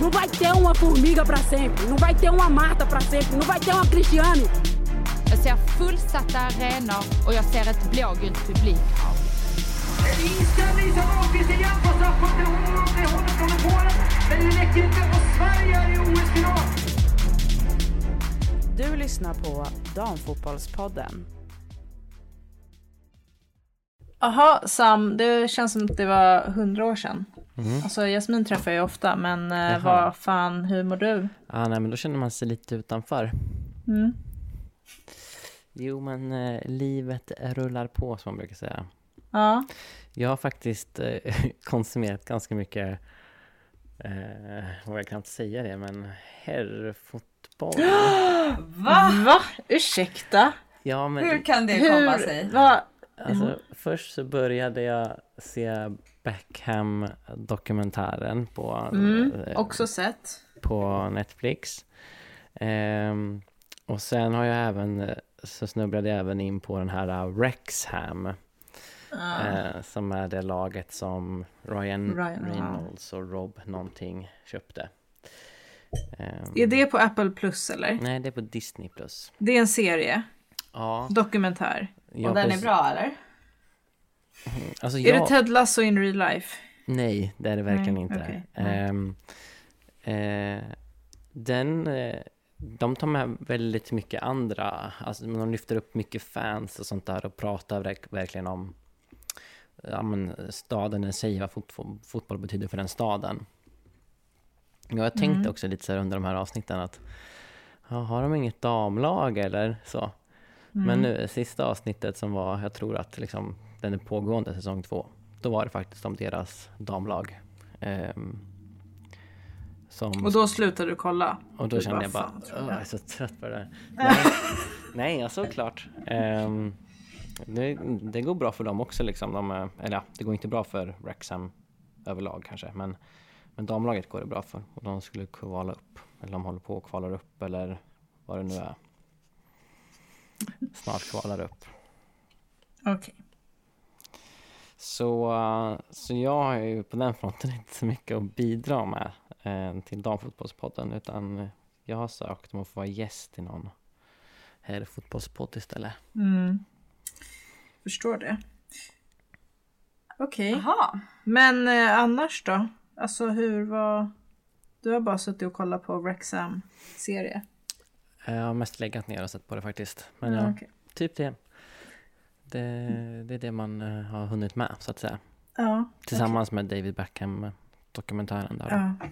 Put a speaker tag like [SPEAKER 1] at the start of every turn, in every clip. [SPEAKER 1] Não vai ter uma formiga para sempre, não vai ter uma Marta para sempre, não vai ter uma Cristiane.
[SPEAKER 2] Jag ser fullsatta arenor och jag ser ett blågult publikhav.
[SPEAKER 3] Inställning som Ahlqvist igen på straffpunkten. Hon håller från Polen, men det räcker inte. Och Sverige är i OS-final.
[SPEAKER 4] Du lyssnar på Damfotbollspodden.
[SPEAKER 5] Jaha, Sam, det känns som att det var hundra år sedan. Alltså Jasmin träffar jag ju ofta, men eh,
[SPEAKER 6] Mm. Jaha.
[SPEAKER 5] vad fan, hur mår du?
[SPEAKER 6] Ah, nej, men då känner man sig lite utanför.
[SPEAKER 5] Mm.
[SPEAKER 6] Jo, men eh, livet rullar på som man brukar säga.
[SPEAKER 5] Ja,
[SPEAKER 6] Jag har faktiskt eh, konsumerat ganska mycket, eh, vad jag kan inte säga det, men herrfotboll.
[SPEAKER 7] Va?
[SPEAKER 5] va? Ursäkta?
[SPEAKER 6] Ja,
[SPEAKER 7] Hur
[SPEAKER 6] men
[SPEAKER 7] kan det komma sig?
[SPEAKER 5] Hur? Va? Mm.
[SPEAKER 6] alltså, först så började jag se Beckham-dokumentären på,
[SPEAKER 5] Mm,
[SPEAKER 6] eh,
[SPEAKER 5] också sett.
[SPEAKER 6] på Netflix. Ehm, och sen har jag även, eh, så snubblade jag även in på den här eh, Wrexham.
[SPEAKER 5] Ja.
[SPEAKER 6] Eh, som är det laget som Ryan,
[SPEAKER 5] Ah. Ryan, ja.
[SPEAKER 6] Reynolds och Rob någonting köpte. Ehm,
[SPEAKER 5] Är det på Apple Plus eller?
[SPEAKER 6] Nej, det är på Disney+. Plus.
[SPEAKER 5] Det är en serie,
[SPEAKER 6] Ja,
[SPEAKER 5] dokumentär.
[SPEAKER 6] jag
[SPEAKER 7] och den är
[SPEAKER 6] precis-
[SPEAKER 7] bra eller?
[SPEAKER 6] Alltså,
[SPEAKER 5] Är det
[SPEAKER 6] jag...
[SPEAKER 5] Ted Lasso in real life?
[SPEAKER 6] Nej, det är det verkligen
[SPEAKER 5] Nej,
[SPEAKER 6] inte.
[SPEAKER 5] okej.
[SPEAKER 6] Ehm, eh, den, eh, de tar med väldigt mycket andra, alltså de lyfter upp mycket fans och sånt där och pratar verk, verkligen om ja, men, staden i sig, vad fotboll, fotboll betyder för den staden. Ja, Jag tänkte också lite så här under de här avsnitten att ja, har de inget damlag eller så? Men nu, sista avsnittet som var, jag tror att liksom, den är pågående säsong två, då var det faktiskt om deras damlag. ehm, som,
[SPEAKER 5] Och då slutar du kolla?
[SPEAKER 6] och då
[SPEAKER 5] Du
[SPEAKER 6] kände jag bara,
[SPEAKER 5] "Fan,
[SPEAKER 6] "Åh, jag är så trött på det där. Nej, nej ja, såklart. Ehm, det, det går bra för dem också liksom. De, är- eller ja, det går inte bra för Wrexham överlag kanske. Men, men damlaget går det bra för. Och de skulle kvala upp. Eller de håller på och kvalar upp eller vad det nu är. Snart kvalar upp. äh.
[SPEAKER 5] Okej.
[SPEAKER 6] Så, eh, så jag har ju på den fronten inte så mycket att bidra med eh, till damfotbollspodden utan eh, jag har sökt om att få vara gäst i någon herrfotbollspodd istället.
[SPEAKER 5] Mm. Förstår det. Okej.
[SPEAKER 7] Jaha.
[SPEAKER 5] Men eh, annars då? Alltså hur var... Du har bara suttit och kollat på Wrexham serie.
[SPEAKER 6] Eh, Jag har mest legat ner och sett på det faktiskt. Men ja,
[SPEAKER 5] Mm, okej.
[SPEAKER 6] typ det. det. Det är det man eh, har hunnit med så att säga.
[SPEAKER 5] Ja.
[SPEAKER 6] Tillsammans med David Beckham-dokumentären där.
[SPEAKER 5] ja.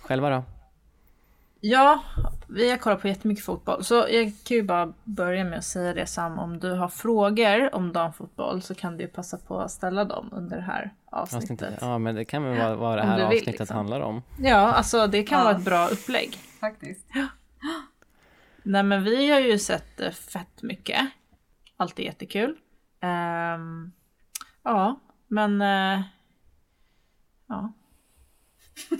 [SPEAKER 6] Själva då?
[SPEAKER 5] Ja, vi har kollat på jättemycket fotboll. Så jag kan ju bara börja med att säga det Sam, om du har frågor om damfotboll så kan du ju passa på att ställa dem under det här
[SPEAKER 6] Avsnittet.
[SPEAKER 5] avsnittet. Ja.
[SPEAKER 6] Ja, men det kan väl vara vad det
[SPEAKER 5] Om
[SPEAKER 6] här
[SPEAKER 5] du vill,
[SPEAKER 6] avsnittet
[SPEAKER 5] liksom.
[SPEAKER 6] handlar om.
[SPEAKER 5] alltså det kan
[SPEAKER 7] Ja.
[SPEAKER 5] vara ett bra upplägg.
[SPEAKER 7] Faktiskt.
[SPEAKER 5] Nej men vi har ju sett eh, fett mycket. Alltid jättekul. Ehm, ja, men... eh, ja.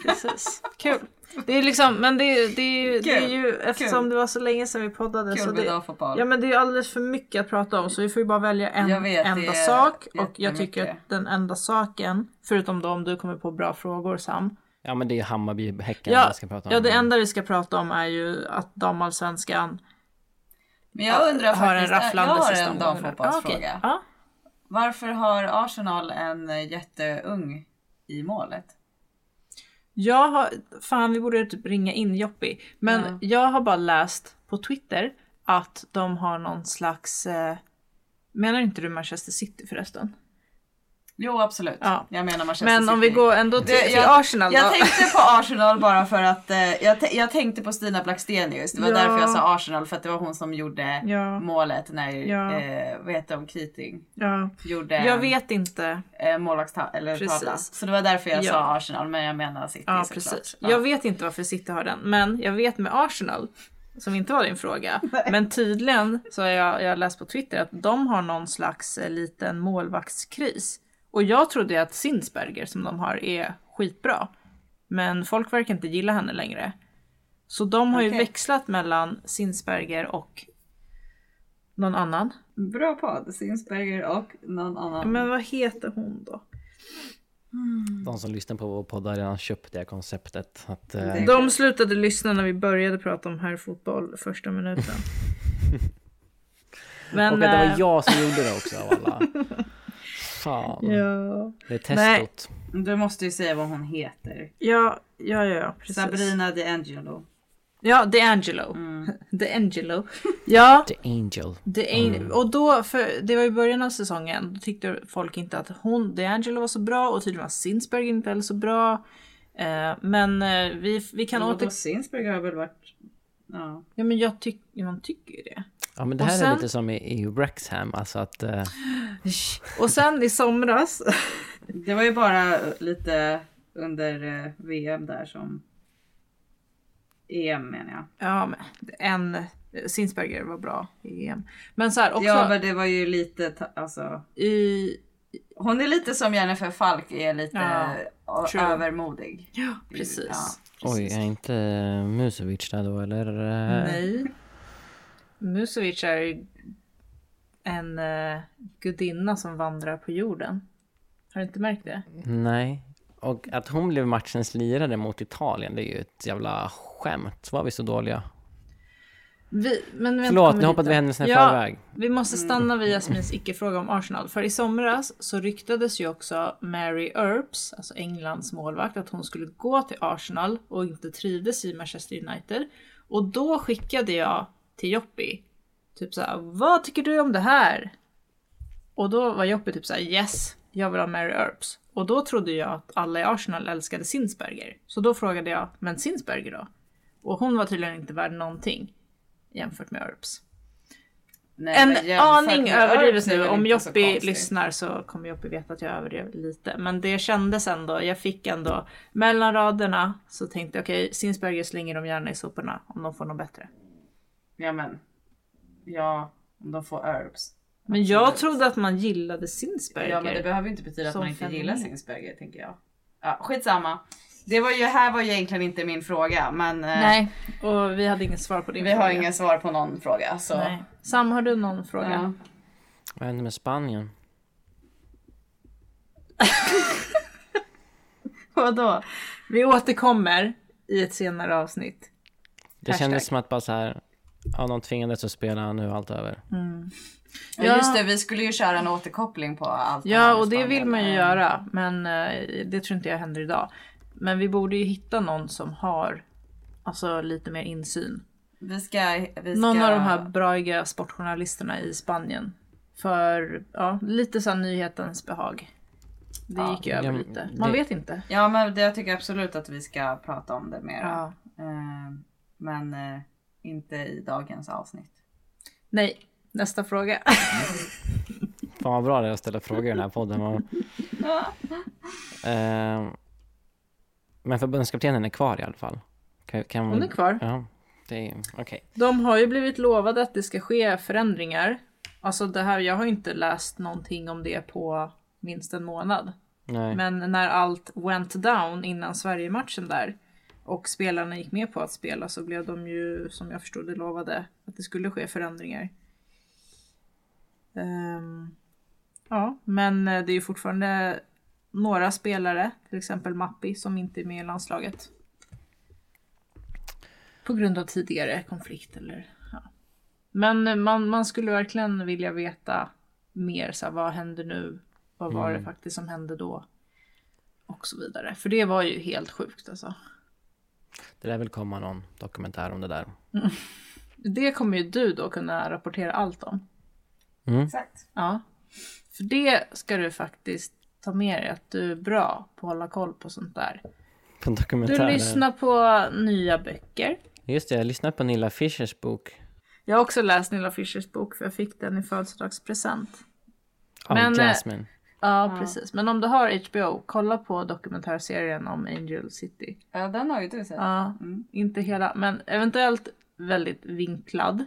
[SPEAKER 5] Precis. Kul. Det är liksom, men det, är- det, är, ju- det är ju eftersom
[SPEAKER 7] Kul.
[SPEAKER 5] det var så länge sedan vi poddade så
[SPEAKER 7] Kul
[SPEAKER 5] det,
[SPEAKER 7] med damfotboll.
[SPEAKER 5] Ja men det är ju alldeles för mycket att prata om så vi får ju bara välja
[SPEAKER 7] Jag
[SPEAKER 5] en
[SPEAKER 7] vet, det
[SPEAKER 5] enda
[SPEAKER 7] är
[SPEAKER 5] sak och jag
[SPEAKER 7] jättemycket.
[SPEAKER 5] tycker att den enda saken, förutom då om du kommer på bra frågor Sam,
[SPEAKER 6] Ja, men det är ju Hammarby-Häcken
[SPEAKER 5] ja,
[SPEAKER 6] vi ska prata om.
[SPEAKER 5] ja det enda vi ska prata om är ju att damallsvenskan
[SPEAKER 7] Men jag undrar
[SPEAKER 5] har en
[SPEAKER 7] faktiskt, jag
[SPEAKER 5] rafflande
[SPEAKER 7] har en
[SPEAKER 5] säsong.
[SPEAKER 7] damfotbollsfråga.
[SPEAKER 5] Ja, okej. Ja.
[SPEAKER 7] Varför har Arsenal en jätteung i målet?
[SPEAKER 5] Jag har, fan vi borde typ ringa in Joppi. Men
[SPEAKER 7] Ja.
[SPEAKER 5] jag har bara läst på Twitter att de har någon slags, eh, menar inte du Manchester City förresten?
[SPEAKER 7] Jo absolut,
[SPEAKER 5] Ja.
[SPEAKER 7] jag menar Manchester
[SPEAKER 5] Men om vi
[SPEAKER 7] City.
[SPEAKER 5] går ändå till,
[SPEAKER 7] Det-
[SPEAKER 5] till Arsenal
[SPEAKER 7] jag
[SPEAKER 5] då.
[SPEAKER 7] tänkte på Arsenal bara för att eh, jag, t- jag tänkte på Stina Blackstenius. Det var
[SPEAKER 5] Ja.
[SPEAKER 7] därför jag sa Arsenal för att det var hon som gjorde
[SPEAKER 5] Ja.
[SPEAKER 7] målet när,
[SPEAKER 5] Ja.
[SPEAKER 7] eh, vad heter hon, Keating
[SPEAKER 5] ja.
[SPEAKER 7] gjorde
[SPEAKER 5] Jag vet inte.
[SPEAKER 7] eh, målvaktstavla. eller
[SPEAKER 5] Precis.
[SPEAKER 7] tavla. Så det var därför jag
[SPEAKER 5] Ja.
[SPEAKER 7] sa Arsenal men jag menar City
[SPEAKER 5] Ja,
[SPEAKER 7] såklart.
[SPEAKER 5] precis.
[SPEAKER 7] Ja.
[SPEAKER 5] Jag vet inte varför City har den, men jag vet med Arsenal, som inte var din fråga, men tydligen så har jag, jag har läst på Twitter att de har någon slags eh, liten målvaktskris. Och jag trodde ju att Sinsberger som de har är skitbra, men folk verkar inte gilla henne längre. Så de har ju
[SPEAKER 7] Okej.
[SPEAKER 5] växlat mellan Sinsberger och någon annan.
[SPEAKER 7] Bra podd, Sinsberger och någon annan.
[SPEAKER 5] Men vad heter hon då?
[SPEAKER 6] de som lyssnar på vår podd har redan köpt det här konceptet. Att, eh,
[SPEAKER 7] Det-
[SPEAKER 5] De slutade lyssna när vi började prata om herrfotboll första minuten. Men...
[SPEAKER 6] och att det
[SPEAKER 5] eh,
[SPEAKER 6] var jag som gjorde det också av alla. Fan,
[SPEAKER 5] Ja.
[SPEAKER 6] det är
[SPEAKER 5] Nej.
[SPEAKER 6] testot.
[SPEAKER 7] Du måste ju säga vad hon heter.
[SPEAKER 5] Ja, ja, ja, ja, precis.
[SPEAKER 7] Sabrina Mm. DeAngelo.
[SPEAKER 5] Ja, DeAngelo. DeAngelo. Ja,
[SPEAKER 6] The Angel.
[SPEAKER 5] det är, och då, för det var i början av säsongen, då tyckte folk inte att hon, DeAngelo var så bra och tydligen var Sinsberg inte heller så bra. Eh, men eh, vi, vi kan åter...
[SPEAKER 7] Sinsberg har väl varit... Ja.
[SPEAKER 5] Ja, men jag tycker, man tycker ju det.
[SPEAKER 6] Ja men det
[SPEAKER 5] Och
[SPEAKER 6] här är
[SPEAKER 5] sen-
[SPEAKER 6] lite som i, i Wrexham, alltså att eh,
[SPEAKER 5] Och sen i somras,
[SPEAKER 7] Det var ju bara lite under eh, VM där som... EM menar jag.
[SPEAKER 5] ja men en Sinsberger var bra i EM. Men så här också
[SPEAKER 7] Ja men det var ju lite, ta- alltså.
[SPEAKER 5] i
[SPEAKER 7] Hon är lite som Jennifer Falk är lite
[SPEAKER 5] Ja,
[SPEAKER 7] ö-
[SPEAKER 5] true.
[SPEAKER 7] övermodig.
[SPEAKER 5] Ja, precis.
[SPEAKER 6] oj, är inte eh, Musovic där då eller? eh,
[SPEAKER 5] Nej. Musovic är en eh, gudinna som vandrar på jorden. Har du inte märkt det?
[SPEAKER 6] Nej. Och att hon blev matchens lirare mot Italien, det är ju ett jävla skämt. Var vi så dåliga?
[SPEAKER 5] Vi, men vänta,
[SPEAKER 6] Förlåt,
[SPEAKER 5] kommer
[SPEAKER 6] nu
[SPEAKER 5] dit
[SPEAKER 6] hoppade
[SPEAKER 5] då.
[SPEAKER 6] vi händelserna i
[SPEAKER 5] ja,
[SPEAKER 6] förväg.
[SPEAKER 5] Vi måste stanna vid Jasmins icke-fråga om Arsenal. För i somras så ryktades ju också Mary Earps, alltså Englands målvakt, att hon skulle gå till Arsenal och inte trivdes i Manchester United. Och då skickade jag till Joppi, typ såhär, vad tycker du om det här? Och då var Joppi typ såhär, yes, jag vill ha Mary Earps. Och då trodde jag att alla i Arsenal älskade Sinsberger. Så då frågade jag, men Sinsberger då? Och hon var tydligen inte värd någonting jämfört med Earps.
[SPEAKER 7] Nej, men
[SPEAKER 5] En
[SPEAKER 7] jämfört
[SPEAKER 5] aning
[SPEAKER 7] med
[SPEAKER 5] överdrivet
[SPEAKER 7] Örps är
[SPEAKER 5] nu.
[SPEAKER 7] väl
[SPEAKER 5] Om
[SPEAKER 7] inte så
[SPEAKER 5] Joppi
[SPEAKER 7] konstigt.
[SPEAKER 5] lyssnar så kommer Joppi veta att jag överdrev lite. Men det kändes ändå, jag fick ändå mellan raderna så tänkte jag okej, Sinsberger slänger de gärna i soporna om de får något bättre.
[SPEAKER 7] Ja men. Ja, om de får herbs.
[SPEAKER 5] Men jag trodde att man gillade Sinsberger.
[SPEAKER 7] Ja men det behöver ju inte betyda att
[SPEAKER 5] Som
[SPEAKER 7] man inte
[SPEAKER 5] fenomen.
[SPEAKER 7] gillar Sinsberger tänker jag. Ja, skitsamma. Det var ju, här var ju egentligen inte min fråga men eh,
[SPEAKER 2] Nej.
[SPEAKER 5] Och vi hade inget svar på din
[SPEAKER 7] vi har inga svar på någon fråga. Så.
[SPEAKER 5] Nej. Sam, har du någon fråga?
[SPEAKER 7] Ja.
[SPEAKER 6] Vad hände med Spanien?
[SPEAKER 5] Vadå? Vi återkommer i ett senare avsnitt.
[SPEAKER 6] Det
[SPEAKER 5] Hashtag.
[SPEAKER 6] kändes som att bara så här, ja de tvingades att spela, nu är allt över.
[SPEAKER 7] Ja. just det, vi skulle ju köra en återkoppling på allt. här
[SPEAKER 5] Ja,
[SPEAKER 7] med
[SPEAKER 5] och det
[SPEAKER 7] Spanien.
[SPEAKER 5] vill man ju
[SPEAKER 7] Eh,
[SPEAKER 5] göra, men eh, det tror inte jag händer idag. Men vi borde ju hitta någon som har alltså, lite mer insyn.
[SPEAKER 7] Vi ska, vi ska...
[SPEAKER 5] Någon av de här braiga sportjournalisterna i Spanien. För ja, lite sån nyhetens behag. Det gick ju
[SPEAKER 6] Ja,
[SPEAKER 5] över
[SPEAKER 6] men
[SPEAKER 5] lite. Man
[SPEAKER 6] det-
[SPEAKER 5] vet inte.
[SPEAKER 7] Ja men det, jag tycker absolut att vi ska prata om det mer.
[SPEAKER 5] Ja.
[SPEAKER 7] Eh, men eh, inte i dagens avsnitt.
[SPEAKER 5] Nej, nästa fråga.
[SPEAKER 6] Fan vad bra det är att ställa frågor i den här podden. Vad- Ehm, men förbundskaptenen är kvar i alla fall. Kan, kan man...
[SPEAKER 5] Hon är kvar.
[SPEAKER 6] Ja, det är okej.
[SPEAKER 5] De har ju blivit lovade att det ska ske förändringar. Alltså det här, jag har ju inte läst någonting om det på minst en månad.
[SPEAKER 6] Nej.
[SPEAKER 5] Men när allt went down innan Sverige-matchen där och spelarna gick med på att spela så blev de ju som jag förstod det lovade att det skulle ske förändringar. Ehm, ja, men eh, det är ju fortfarande några spelare, till exempel Mappi, som inte är med i landslaget. På grund av tidigare konflikt eller ja. Men eh, man, man skulle verkligen vilja veta mer, så här, vad händer nu? Vad var det faktiskt som hände då? Och så vidare. För det var ju helt sjukt alltså.
[SPEAKER 6] Det lär väl komma någon dokumentär om det där.
[SPEAKER 5] Det kommer ju du då kunna rapportera allt om.
[SPEAKER 7] Exakt.
[SPEAKER 5] Ja. För det ska du faktiskt ta med dig, att du är bra på att hålla koll på sånt där.
[SPEAKER 6] På en
[SPEAKER 5] Du
[SPEAKER 6] dokumentär.
[SPEAKER 5] lyssnar på nya böcker.
[SPEAKER 6] Just det, jag lyssnade på Nilla Fischers bok.
[SPEAKER 5] Jag har också läst Nilla Fischers bok för jag fick den i födelsedagspresent.
[SPEAKER 6] Av
[SPEAKER 5] Men, eh,
[SPEAKER 6] Jasmine.
[SPEAKER 5] Ja, precis. Men om du har HBO, kolla på dokumentärserien om Angel City.
[SPEAKER 7] Ja den har ju du sett.
[SPEAKER 5] Ja, inte hela, men eventuellt väldigt vinklad.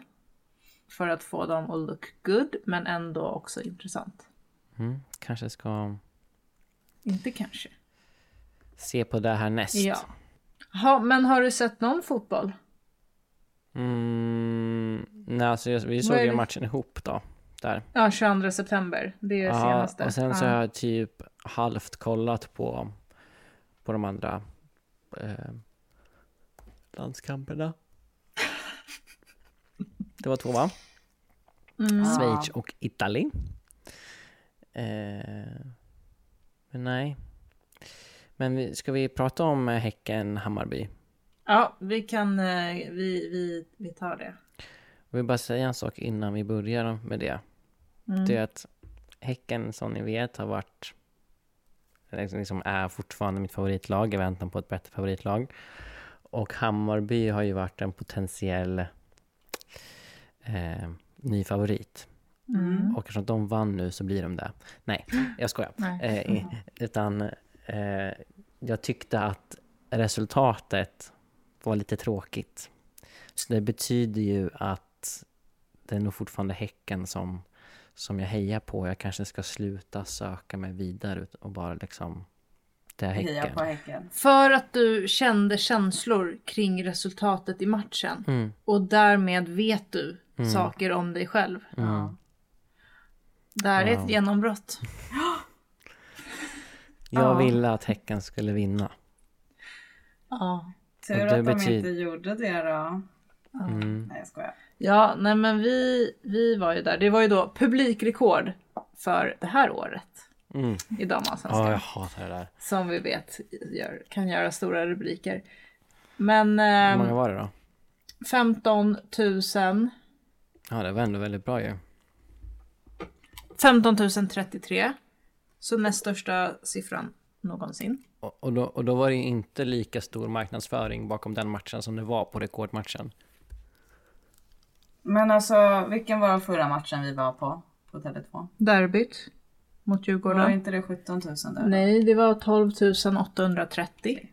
[SPEAKER 5] För att få dem att look good, men ändå också intressant.
[SPEAKER 6] Mm, kanske ska
[SPEAKER 5] Inte kanske.
[SPEAKER 6] se på det här näst.
[SPEAKER 5] Ja. Ha, men har du sett någon fotboll?
[SPEAKER 6] Mm, nej, alltså jag, vi såg
[SPEAKER 5] är
[SPEAKER 6] ju
[SPEAKER 5] det?
[SPEAKER 6] matchen ihop då. Där.
[SPEAKER 5] Ja, 22 september. Det är det
[SPEAKER 6] Ja,
[SPEAKER 5] senaste.
[SPEAKER 6] och sen så
[SPEAKER 5] ja.
[SPEAKER 6] har jag typ halvt kollat på på de andra eh, landskamperna. Det var två va? Schweiz och Italien. Eh, men nej. Men vi, ska vi prata om eh, Häcken-Hammarby?
[SPEAKER 5] Ja, vi kan, eh, vi, vi, vi tar det.
[SPEAKER 6] Jag vill bara säga en sak innan vi börjar med det. Det är att Häcken, som ni vet, har varit... Liksom liksom är fortfarande mitt favoritlag i väntan på ett bättre favoritlag. Och Hammarby har ju varit en potentiell eh, ny favorit.
[SPEAKER 7] Mm.
[SPEAKER 6] Och eftersom de vann nu så blir de det. Nej, jag skojar.
[SPEAKER 2] Nej.
[SPEAKER 6] Eh, i- utan eh, jag tyckte att resultatet var lite tråkigt. Så det betyder ju att det är nog fortfarande Häcken som, som jag hejar på. Jag kanske ska sluta söka mig vidare ut och bara liksom... Det är
[SPEAKER 7] Heja
[SPEAKER 6] Häcken.
[SPEAKER 7] på Häcken.
[SPEAKER 5] För att du kände känslor kring resultatet i matchen.
[SPEAKER 6] Mm.
[SPEAKER 5] Och därmed vet du saker om dig själv.
[SPEAKER 6] Mm.
[SPEAKER 7] Ja.
[SPEAKER 5] Där är
[SPEAKER 6] Wow.
[SPEAKER 5] ett genombrott.
[SPEAKER 6] Jag ville att Häcken skulle vinna.
[SPEAKER 5] Ja.
[SPEAKER 7] Tur
[SPEAKER 6] Och det
[SPEAKER 7] att de
[SPEAKER 6] betyder-
[SPEAKER 7] inte gjorde det då.
[SPEAKER 6] Mm.
[SPEAKER 7] Nej jag skojar.
[SPEAKER 5] Ja, nej men vi, vi var ju där. Det var ju då publikrekord för det här året
[SPEAKER 6] Mm.
[SPEAKER 5] i damallsvenskan.
[SPEAKER 6] Ja, jag hatar det där.
[SPEAKER 5] Som vi vet gör, kan göra stora rubriker. Men
[SPEAKER 6] Hur
[SPEAKER 5] ehm,
[SPEAKER 6] många var det då?
[SPEAKER 5] 15 000.
[SPEAKER 6] Ja, det var ändå väldigt bra ju.
[SPEAKER 5] 15 033. Så näst största siffran någonsin.
[SPEAKER 6] Och, och, då, och då var det ju inte lika stor marknadsföring bakom den matchen som det var på rekordmatchen.
[SPEAKER 7] Men alltså vilken var den förra matchen vi var på? På Tele2?
[SPEAKER 5] Derbyt mot
[SPEAKER 7] Var
[SPEAKER 5] Djurgården.
[SPEAKER 7] inte det 17 000 där?
[SPEAKER 5] Nej, det var 12 830.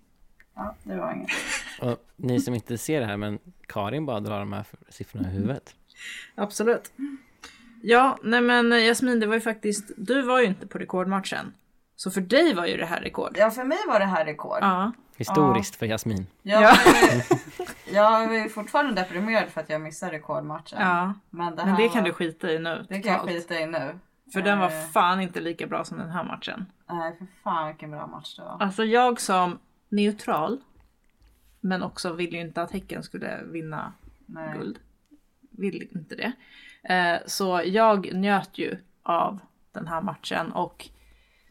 [SPEAKER 7] Ja, det var inget.
[SPEAKER 6] Och ni som inte ser det här, men Karin bara drar de här siffrorna i huvudet.
[SPEAKER 5] Absolut. Ja, nej men eh, Jasmin, det var ju faktiskt, du var ju inte på rekordmatchen. Så för dig var ju det här rekord.
[SPEAKER 7] Ja, för mig var det här rekord.
[SPEAKER 5] Ja.
[SPEAKER 6] Historiskt för Jasmin.
[SPEAKER 7] Jag,
[SPEAKER 5] Ja.
[SPEAKER 7] Var ju, jag var ju fortfarande deprimerad för att jag missade rekordmatchen.
[SPEAKER 5] ja.
[SPEAKER 7] Men det, här
[SPEAKER 5] Men det kan
[SPEAKER 7] var-
[SPEAKER 5] du skita i nu.
[SPEAKER 7] det kan jag
[SPEAKER 5] totalt.
[SPEAKER 7] skita i nu.
[SPEAKER 5] För den var
[SPEAKER 7] Eh,
[SPEAKER 5] fan inte lika bra som den här matchen.
[SPEAKER 7] Nej, för fan vilken bra match det var.
[SPEAKER 5] Alltså jag som neutral, men också ville ju inte att Häcken skulle vinna
[SPEAKER 7] Nej.
[SPEAKER 5] guld. Vill inte det. Eh, Så jag njöt ju av den här matchen och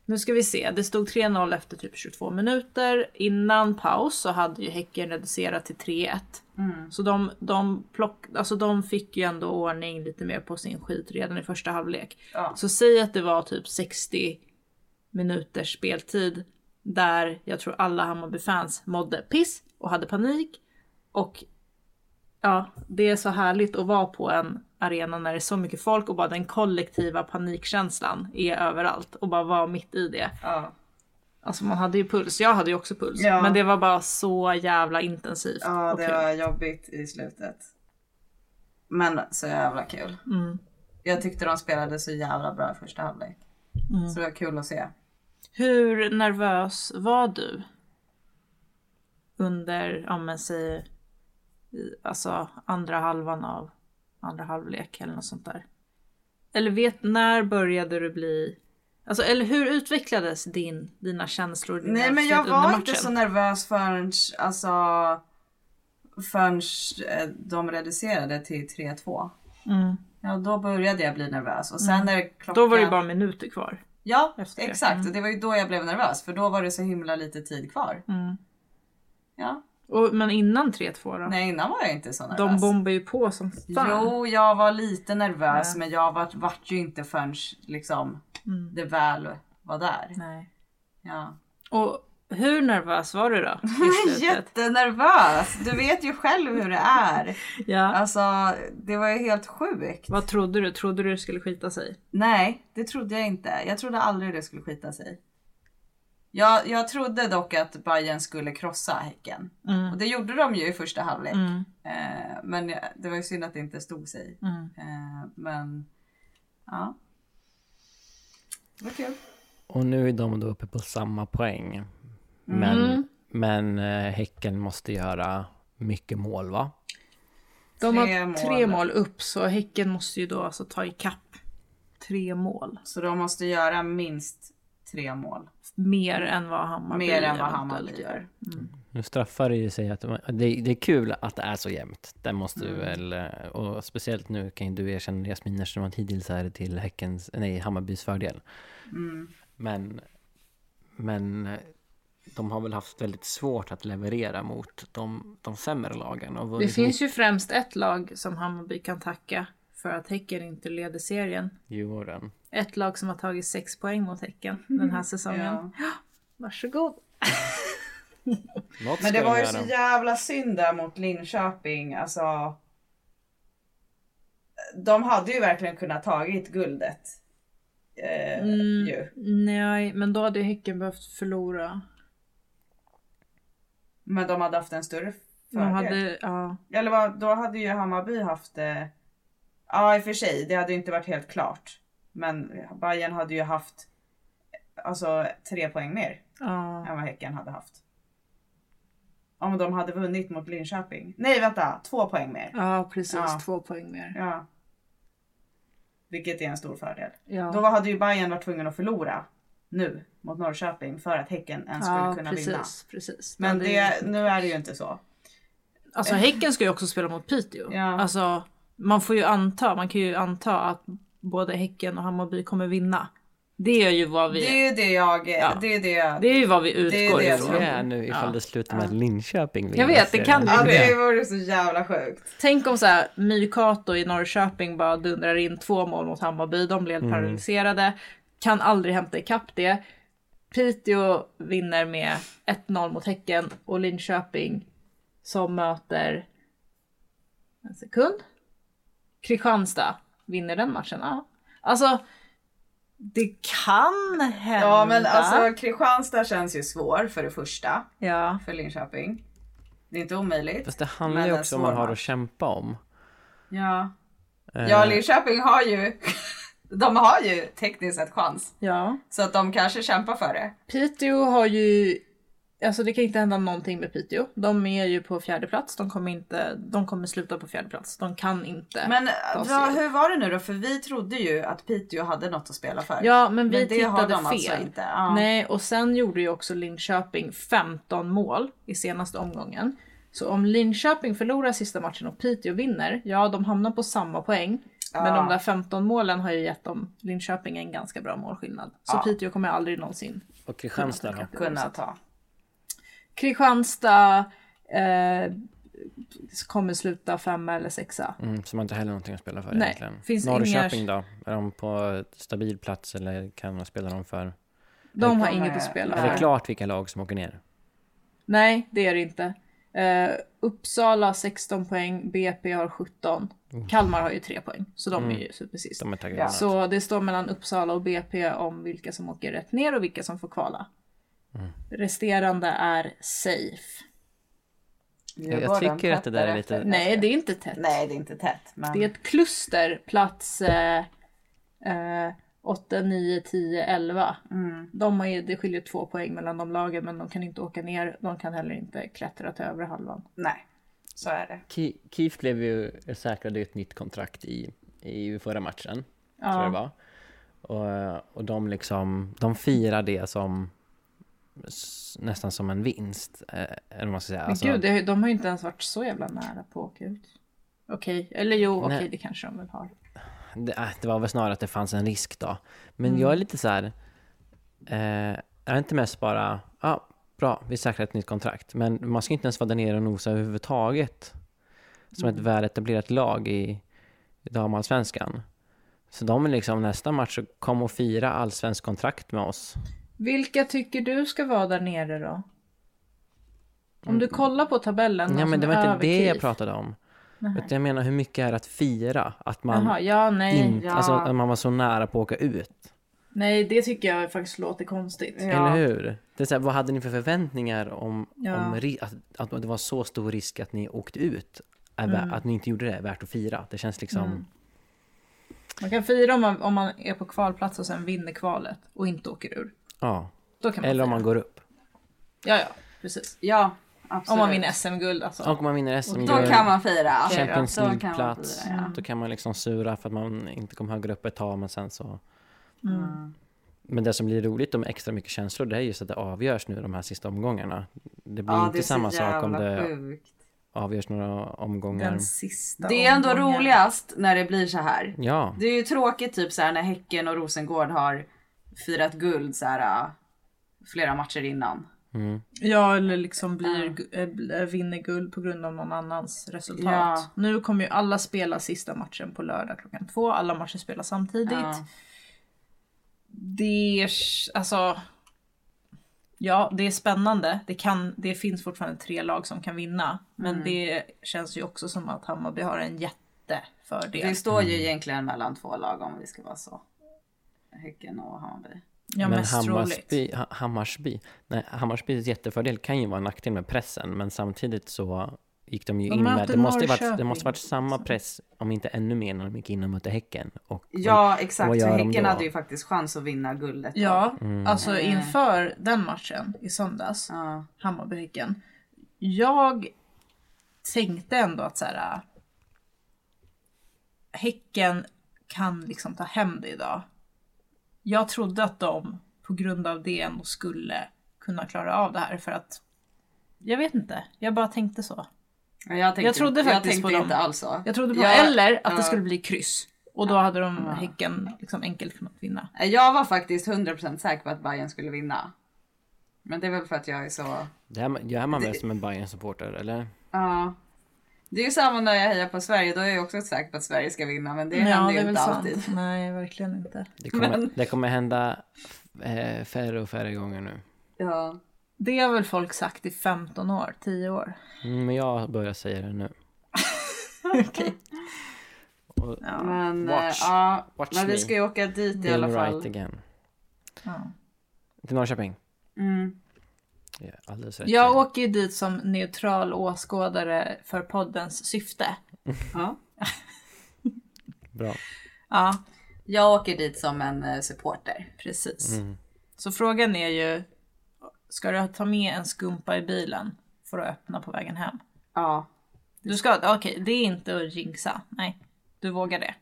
[SPEAKER 5] nu ska vi se, det stod 3-0 efter typ 22 minuter. Innan paus så hade ju Häcken reducerat till 3-1.
[SPEAKER 7] Mm.
[SPEAKER 5] Så de, de, plock, alltså de fick ju ändå ordning lite mer på sin skit redan i första halvlek.
[SPEAKER 7] Ja.
[SPEAKER 5] Så säg att det var typ 60 minuters speltid där jag tror alla Hammarby-fans mådde piss och hade panik. Och ja, det är så härligt att vara på en arena när det är så mycket folk och bara den kollektiva panikkänslan är överallt och bara vara mitt i det.
[SPEAKER 7] Ja.
[SPEAKER 5] Alltså man hade ju puls, jag hade ju också puls.
[SPEAKER 7] Ja.
[SPEAKER 5] Men det var bara så jävla intensivt
[SPEAKER 7] ja,
[SPEAKER 5] och
[SPEAKER 7] det
[SPEAKER 5] kul.
[SPEAKER 7] var jobbigt i slutet. Men så jävla kul.
[SPEAKER 5] Mm.
[SPEAKER 7] Jag tyckte de spelade så jävla bra i första halvlek.
[SPEAKER 5] Mm.
[SPEAKER 7] Så det var kul att se.
[SPEAKER 5] Hur nervös var du? Under, ja men säg, i- alltså andra halvan av andra halvlek eller något sånt där. Eller vet, när började du bli, alltså eller hur utvecklades din, dina känslor, din
[SPEAKER 7] Nej men
[SPEAKER 5] nervositet
[SPEAKER 7] jag
[SPEAKER 5] under
[SPEAKER 7] var
[SPEAKER 5] matchen?
[SPEAKER 7] inte så nervös förrän, alltså, förrän eh, de reducerade till 3-2.
[SPEAKER 5] Mm.
[SPEAKER 7] Ja då började jag bli nervös och sen när klockan...
[SPEAKER 5] Då var det ju bara minuter kvar.
[SPEAKER 7] Ja
[SPEAKER 5] efter det.
[SPEAKER 7] exakt och det var ju då jag blev nervös för då var det så himla lite tid kvar.
[SPEAKER 5] Mm.
[SPEAKER 7] Ja.
[SPEAKER 5] Och, men innan 3-2 då?
[SPEAKER 7] Nej alltså- innan var jag inte så nervös.
[SPEAKER 5] De bombar ju på som fan.
[SPEAKER 7] Jo jag var lite nervös men jag vart, vart ju inte förrän liksom det väl var där.
[SPEAKER 5] Mm. Nej.
[SPEAKER 7] Ja.
[SPEAKER 5] Och hur nervös var du då? I slutet?
[SPEAKER 7] Jättenervös! Du vet ju själv hur det är.
[SPEAKER 5] ja.
[SPEAKER 7] Alltså det var ju helt sjukt.
[SPEAKER 5] Vad trodde du? Trodde du det skulle skita sig?
[SPEAKER 7] Nej, det trodde jag inte. Jag trodde aldrig det skulle skita sig. Jag, jag trodde dock att Bayern skulle krossa Häcken.
[SPEAKER 5] Mm.
[SPEAKER 7] Och det gjorde de ju i första halvlek. Eh, men jag, det var ju synd att det inte stod sig. Eh, men ja. Det var kul.
[SPEAKER 6] Och nu är de då uppe på samma poäng. Men, men eh, Häcken måste göra mycket mål va?
[SPEAKER 5] De
[SPEAKER 7] Tre
[SPEAKER 5] har
[SPEAKER 7] mål.
[SPEAKER 5] tre mål upp så Häcken måste ju då alltså ta ikapp tre mål.
[SPEAKER 7] Så de måste göra minst tre mål.
[SPEAKER 5] Mer än vad Hammarby
[SPEAKER 7] Mer än vad
[SPEAKER 5] eventuellt
[SPEAKER 7] Hammarby gör.
[SPEAKER 6] Nu straffar det ju sig att det, det är kul att det är så jämnt. Det måste du väl, eh, och speciellt nu kan ju du erkänna Jasmin eftersom att hittills är det till Häckens, nej Hammarbys fördel. Men, men eh, de har väl haft väldigt svårt att leverera mot de, de sämre lagen. Och
[SPEAKER 5] Det
[SPEAKER 6] vunnit
[SPEAKER 5] finns ju främst ett lag som Hammarby kan tacka för att Häcken inte leder serien.
[SPEAKER 6] Djurgården.
[SPEAKER 5] Ett lag som har tagit sex poäng mot Häcken den här säsongen.
[SPEAKER 7] Ja.
[SPEAKER 5] Varsågod!
[SPEAKER 6] Något
[SPEAKER 7] Men det
[SPEAKER 6] ska
[SPEAKER 7] var
[SPEAKER 6] de
[SPEAKER 7] ju
[SPEAKER 6] göra.
[SPEAKER 7] så jävla synd där mot Linköping. Alltså. De hade ju verkligen kunnat tagit guldet. Eh,
[SPEAKER 5] Mm.
[SPEAKER 7] ju.
[SPEAKER 5] Nej, men då hade Häcken behövt förlora.
[SPEAKER 7] Men de hade haft en större
[SPEAKER 5] De
[SPEAKER 7] fördel.
[SPEAKER 5] hade, ja.
[SPEAKER 7] Eller vad, då hade ju Hammarby haft... eh, Ja i och för sig, det hade ju inte varit helt klart. Men Bayern hade ju haft alltså tre poäng mer
[SPEAKER 5] ja.
[SPEAKER 7] än vad Häcken hade haft. Om de hade vunnit mot Linköping. Nej vänta, två poäng mer.
[SPEAKER 5] Ja, precis.
[SPEAKER 7] Ja.
[SPEAKER 5] Två poäng mer.
[SPEAKER 7] Ja. Vilket är en stor fördel.
[SPEAKER 5] Ja.
[SPEAKER 7] Då hade ju Bayern varit tvungen att förlora nu mot Norrköping för att Häcken ens skulle
[SPEAKER 5] Ja,
[SPEAKER 7] kunna
[SPEAKER 5] precis.
[SPEAKER 7] vinna.
[SPEAKER 5] precis.
[SPEAKER 7] Men
[SPEAKER 5] Det hade
[SPEAKER 7] det, nu är det ju inte så.
[SPEAKER 5] Alltså Häcken ska ju också spela mot Piteå.
[SPEAKER 7] Ja.
[SPEAKER 5] Alltså, man får ju anta, man kan ju anta att både Häcken och Hammarby kommer vinna. Det är ju vad vi,
[SPEAKER 7] Det
[SPEAKER 5] det,
[SPEAKER 7] är ju det jag... Det är det jag...
[SPEAKER 5] är ju vad vi
[SPEAKER 7] är
[SPEAKER 5] utgår
[SPEAKER 7] det jag
[SPEAKER 5] ifrån.
[SPEAKER 7] tror.
[SPEAKER 6] Det är nu ifall det slutar med att Linköping vinner
[SPEAKER 5] Jag vet, det kan
[SPEAKER 6] serien.
[SPEAKER 5] det ju
[SPEAKER 7] Ja,
[SPEAKER 5] ske.
[SPEAKER 7] det vore så jävla sjukt.
[SPEAKER 5] Tänk om så här, Mykato i Norrköping bara dundrar in två mål mot Hammarby, de blev paralyserade, kan aldrig hämta ikapp det. Piteå vinner med 1-0 mot Häcken och Linköping som möter, en sekund, Kristianstad vinner den matchen. Ja. Alltså, det kan hända.
[SPEAKER 7] Ja men alltså Kristianstad känns ju svår för det första,
[SPEAKER 5] Ja.
[SPEAKER 7] för Linköping. Det är inte omöjligt.
[SPEAKER 6] Fast det handlar
[SPEAKER 7] Men
[SPEAKER 6] ju
[SPEAKER 7] en
[SPEAKER 6] också om vad
[SPEAKER 7] svår
[SPEAKER 6] man har
[SPEAKER 7] match.
[SPEAKER 6] att kämpa om. Eh,
[SPEAKER 7] Ja. ja, Linköping har ju... de har ju tekniskt sett chans.
[SPEAKER 5] ja.
[SPEAKER 7] Så att de kanske kämpar för det.
[SPEAKER 5] Piteå har ju, alltså det kan inte hända någonting med Piteå. De är ju på fjärde plats. de kommer inte, de kommer sluta på fjärde plats. De kan inte.
[SPEAKER 7] Men
[SPEAKER 5] ta sig
[SPEAKER 7] vad-
[SPEAKER 5] upp.
[SPEAKER 7] hur var det nu då? För vi trodde ju att Piteå hade något att spela för.
[SPEAKER 5] Ja, men vi
[SPEAKER 7] men det
[SPEAKER 5] tittade
[SPEAKER 7] har de
[SPEAKER 5] fel.
[SPEAKER 7] alltså inte. Ja.
[SPEAKER 5] Nej, och sen gjorde ju också Linköping 15 mål i senaste omgången. Så om Linköping förlorar sista matchen och Piteå vinner, ja de hamnar på samma poäng. Men
[SPEAKER 7] Ja.
[SPEAKER 5] de där 15 målen har ju gett dem Linköping en ganska bra målskillnad. Så Piteå kommer aldrig någonsin
[SPEAKER 6] Och Kristianstad då?
[SPEAKER 7] Kunna ta.
[SPEAKER 5] Kristianstad eh, kommer sluta femma eller sexa.
[SPEAKER 6] Mm, som inte heller någonting att spela för
[SPEAKER 5] Nej,
[SPEAKER 6] egentligen.
[SPEAKER 5] finns
[SPEAKER 6] Norrköping då? Är de på stabil plats eller kan man spela dem för?
[SPEAKER 5] De har
[SPEAKER 7] kommer-
[SPEAKER 5] inget att spela
[SPEAKER 6] Är det
[SPEAKER 5] för.
[SPEAKER 6] klart vilka lag som åker ner?
[SPEAKER 5] Nej, det är det inte. Eh, Uppsala 16 poäng, BP har 17. Kalmar har ju 3 poäng, så de är ju supersist.
[SPEAKER 6] Mm. De är taggade. Ja.
[SPEAKER 5] Så det står mellan Uppsala och BP om vilka som åker rätt ner och vilka som får kvala.
[SPEAKER 6] Mm.
[SPEAKER 5] Resterande är safe.
[SPEAKER 6] Jag tycker att det där är lite...
[SPEAKER 5] Nej, det är inte tätt.
[SPEAKER 7] Nej, det är inte tätt. Men...
[SPEAKER 5] Det är ett kluster, plats eh, eh, 8, 9, 10, 11.
[SPEAKER 7] Mm,
[SPEAKER 5] De har ju, det skiljer två poäng mellan de lagen men de kan inte åka ner. De kan heller inte klättra till övre halvan.
[SPEAKER 7] Nej, så är det.
[SPEAKER 6] Ke- Keith blev ju säkrade ju ett nytt kontrakt i, i förra matchen. Tror jag det var. Och, och de liksom, de firar det som s- nästan som en vinst. eh, Eller vad man ska säga.
[SPEAKER 5] Men
[SPEAKER 6] Alltså,
[SPEAKER 5] gud, det, de har ju inte ens varit så jävla nära på att åka ut. Okej, eller jo, okej
[SPEAKER 6] Nej.
[SPEAKER 5] det kanske de väl har.
[SPEAKER 6] det, äh, det var väl snarare att det fanns en risk då. Men
[SPEAKER 5] Mm.
[SPEAKER 6] jag är lite så här. Eh, jag är inte mest bara, ja, bra, vi säkrar ett nytt kontrakt. Men man ska inte ens vara där nere och nosa överhuvudtaget. Som
[SPEAKER 5] Mm.
[SPEAKER 6] ett väletablerat lag i, i damallsvenskan. Så de är liksom nästa match, så kom och fira allsvensk kontrakt med oss.
[SPEAKER 5] Vilka tycker du ska vara där nere då? Om du kollar på tabellen. alltså
[SPEAKER 6] Nej
[SPEAKER 5] någon
[SPEAKER 6] Mm. men
[SPEAKER 5] som
[SPEAKER 6] det
[SPEAKER 5] är över
[SPEAKER 6] var inte det jag
[SPEAKER 5] KIF.
[SPEAKER 6] pratade om. Utan jag menar hur mycket är att fira? Att man,
[SPEAKER 5] Jaha, ja, nej.
[SPEAKER 6] inte, alltså, att man var så nära på att åka ut.
[SPEAKER 5] Nej, det tycker jag faktiskt låter konstigt.
[SPEAKER 6] Eller hur? Det är så här, vad hade ni för förväntningar om,
[SPEAKER 5] Ja.
[SPEAKER 6] om ri- att, att det var så stor risk att ni åkte ut? Är vä-
[SPEAKER 7] Mm.
[SPEAKER 6] Att ni inte gjorde det är värt att fira. Det känns liksom...
[SPEAKER 5] Man kan fira om man, om man är på kvalplats och sen vinner kvalet och inte åker ur.
[SPEAKER 6] Ja.
[SPEAKER 5] Då kan man
[SPEAKER 6] Eller om
[SPEAKER 5] fira.
[SPEAKER 6] man går upp.
[SPEAKER 5] Ja, ja, precis.
[SPEAKER 7] Ja, absolut.
[SPEAKER 5] Om man vinner SM-guld alltså.
[SPEAKER 6] Och om man vinner SM.
[SPEAKER 7] Då kan man fira.
[SPEAKER 6] Champions
[SPEAKER 7] Då kan man
[SPEAKER 6] League-plats.
[SPEAKER 7] fira, ja. Mm.
[SPEAKER 6] Då kan man liksom sura för att man inte kom högre upp ett tag men sen så... Men det som blir roligt och med extra mycket känslor det är just att det avgörs nu de här sista omgångarna. Det blir
[SPEAKER 7] Ja,
[SPEAKER 6] inte
[SPEAKER 7] det är så
[SPEAKER 6] samma sak om
[SPEAKER 7] jävla
[SPEAKER 6] det
[SPEAKER 7] sjukt.
[SPEAKER 6] avgörs några omgångar.
[SPEAKER 5] Den sista
[SPEAKER 7] Det är ändå
[SPEAKER 5] omgången.
[SPEAKER 7] roligast när det blir så här.
[SPEAKER 6] Ja,
[SPEAKER 7] Det är ju tråkigt typ så här när Häcken och Rosengård har firat guld så här äh, flera matcher innan.
[SPEAKER 5] Ja, eller liksom blir, gu- eh, bl- eh, vinner guld på grund av någon annans resultat.
[SPEAKER 7] Ja.
[SPEAKER 5] Nu kommer ju alla spela sista matchen på lördag klockan två. Alla matcher spelas samtidigt.
[SPEAKER 7] Ja.
[SPEAKER 5] Det är... s- Alltså... Ja, det är spännande. Det, kan, det finns fortfarande tre lag som kan vinna. Men
[SPEAKER 7] Mm.
[SPEAKER 5] det känns ju också som att Hammarby har en jättefördel.
[SPEAKER 7] Det står
[SPEAKER 6] Mm.
[SPEAKER 7] ju egentligen mellan två lag om vi ska vara så. Häcken och Hammarby.
[SPEAKER 5] ja,
[SPEAKER 6] men
[SPEAKER 5] mest troligt.
[SPEAKER 6] Hammarsby, Ha- Hammarsby, nej, Hammarspys jättefördel kan ju vara en nackdel med pressen, men samtidigt så gick de ju
[SPEAKER 5] De
[SPEAKER 6] in med,
[SPEAKER 5] möter
[SPEAKER 6] det måste ju
[SPEAKER 5] Norrköping.
[SPEAKER 6] varit, det måste varit samma press, om inte ännu mer, när de gick in och mötte Häcken. Och
[SPEAKER 7] Ja
[SPEAKER 6] vad
[SPEAKER 7] exakt, så
[SPEAKER 6] gör de
[SPEAKER 7] Häcken
[SPEAKER 6] då?
[SPEAKER 7] hade ju faktiskt chans att vinna guldet. då.
[SPEAKER 5] Ja, alltså
[SPEAKER 7] Mm.
[SPEAKER 5] inför den matchen i söndags.
[SPEAKER 7] Ja.
[SPEAKER 5] Hammarbyhäcken. Jag tänkte ändå att så här. äh, Häcken kan liksom ta hem det idag. Jag trodde att de på grund av det ändå skulle kunna klara av det här för att jag vet inte, jag bara tänkte så.
[SPEAKER 7] Men Jag, tänkte,
[SPEAKER 5] Jag trodde
[SPEAKER 7] jag
[SPEAKER 5] faktiskt
[SPEAKER 7] tänkte
[SPEAKER 5] på dem.
[SPEAKER 7] inte alls så.
[SPEAKER 5] Jag trodde på
[SPEAKER 7] Jag-
[SPEAKER 5] eller att
[SPEAKER 7] ja.
[SPEAKER 5] det skulle bli kryss och då hade de Häcken liksom enkelt kunnat vinna.
[SPEAKER 7] Jag var faktiskt 100% säker på att Bayern skulle vinna. Men det är väl för att jag är så...
[SPEAKER 6] Det här, gör man väl som en bayern supporter eller?
[SPEAKER 7] Ja. Det är ju samma när jag hejar på Sverige, då är jag också säker på att Sverige ska vinna. Men det
[SPEAKER 5] Ja,
[SPEAKER 7] händer ju
[SPEAKER 5] är väl
[SPEAKER 7] inte
[SPEAKER 5] sant.
[SPEAKER 7] alltid.
[SPEAKER 5] Nej, verkligen inte.
[SPEAKER 6] Det kommer, det kommer hända eh, färre och färre gånger nu.
[SPEAKER 7] Ja.
[SPEAKER 5] Det har väl folk sagt i 15 år, 10 år.
[SPEAKER 6] Mm, Men jag börjar säga det nu. Och
[SPEAKER 7] Men,
[SPEAKER 6] Watch.
[SPEAKER 7] eh, ja,
[SPEAKER 6] Watch
[SPEAKER 7] men
[SPEAKER 6] me.
[SPEAKER 7] vi ska ju åka dit i
[SPEAKER 6] being
[SPEAKER 7] alla fall.
[SPEAKER 6] right again.
[SPEAKER 5] Ja.
[SPEAKER 6] Till Norrköping.
[SPEAKER 7] Mm.
[SPEAKER 6] Det är Alldeles rätt.
[SPEAKER 5] Jag åker ju dit som neutral åskådare för poddens syfte.
[SPEAKER 7] Ja.
[SPEAKER 6] Bra.
[SPEAKER 5] Ja,
[SPEAKER 7] Jag åker dit som en eh, supporter.
[SPEAKER 5] precis.
[SPEAKER 6] Mm.
[SPEAKER 5] Så frågan är ju, ska du ta med en skumpa i bilen för att öppna på vägen hem?
[SPEAKER 7] Ja.
[SPEAKER 5] Du ska, okej, det är inte att jinxa. Nej, du vågar det.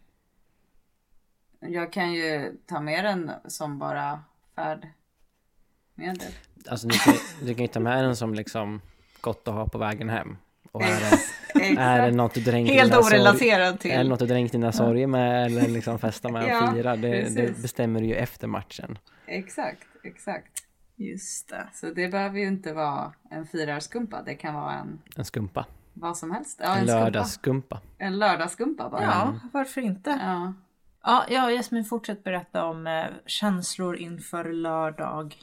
[SPEAKER 7] Jag kan ju ta med den som bara färdmedel.
[SPEAKER 6] Alltså du kan, du kan ju ta med den som liksom gott att ha på vägen hem. Och är det,
[SPEAKER 7] Eh,
[SPEAKER 6] är det något du dränkt
[SPEAKER 5] Helt
[SPEAKER 6] dina sorg-
[SPEAKER 5] orelaterad
[SPEAKER 6] Är det
[SPEAKER 5] till.
[SPEAKER 6] något du dränkt dina sorger med eller liksom festar med och
[SPEAKER 7] Ja,
[SPEAKER 6] firar? Det, det
[SPEAKER 7] precis.
[SPEAKER 6] bestämmer du ju efter matchen.
[SPEAKER 7] Exakt, exakt.
[SPEAKER 5] Just det.
[SPEAKER 7] Så det behöver ju inte vara en firarskumpa. Det kan vara en
[SPEAKER 6] En skumpa.
[SPEAKER 7] vad som helst. Ja,
[SPEAKER 6] En
[SPEAKER 7] en, skumpa.
[SPEAKER 6] lördagsskumpa.
[SPEAKER 7] en lördagsskumpa bara.
[SPEAKER 5] Ja, varför inte?
[SPEAKER 7] Ja.
[SPEAKER 5] Ja, ja Jasmin, fortsätt berätta om eh, känslor inför lördag.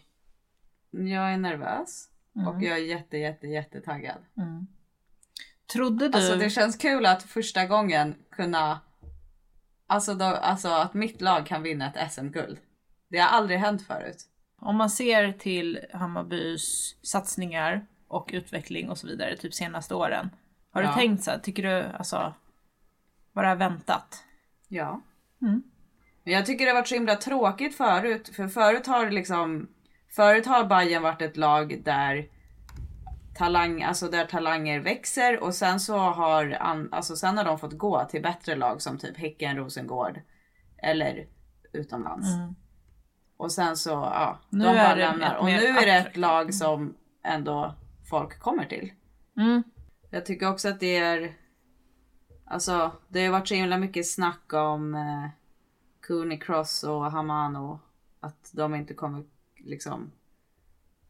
[SPEAKER 7] Jag är nervös
[SPEAKER 5] Mm.
[SPEAKER 7] och jag är jätte, jätte, jättetaggad.
[SPEAKER 5] Trodde du...
[SPEAKER 7] Alltså det känns kul att första gången kunna, alltså, då, alltså att mitt lag kan vinna ett SM-guld. Det har aldrig hänt förut.
[SPEAKER 5] Om man ser till Hammarbys satsningar och utveckling och så vidare, typ senaste åren. Har du
[SPEAKER 7] Ja.
[SPEAKER 5] tänkt så här, tycker du alltså, bara väntat?
[SPEAKER 7] Ja. Men jag tycker det har varit så himla tråkigt förut, för förut har det liksom, förut har Bayern varit ett lag där talang, alltså där talanger växer och sen så har, an, alltså sen har de fått gå till bättre lag som typ Häcken, Rosengård eller
[SPEAKER 5] Mm.
[SPEAKER 7] utomlands. Och sen så, ja,
[SPEAKER 5] Nu
[SPEAKER 7] de bara
[SPEAKER 5] är det
[SPEAKER 7] lämnar.
[SPEAKER 5] ett
[SPEAKER 7] Och nu
[SPEAKER 5] mer
[SPEAKER 7] är det ett
[SPEAKER 5] attraktivt.
[SPEAKER 7] lag som ändå folk kommer till.
[SPEAKER 5] Mm.
[SPEAKER 7] Jag tycker också att det är, alltså det har ju varit så himla mycket snack om eh, Cooney Cross och Hamano. Att de inte kommer liksom.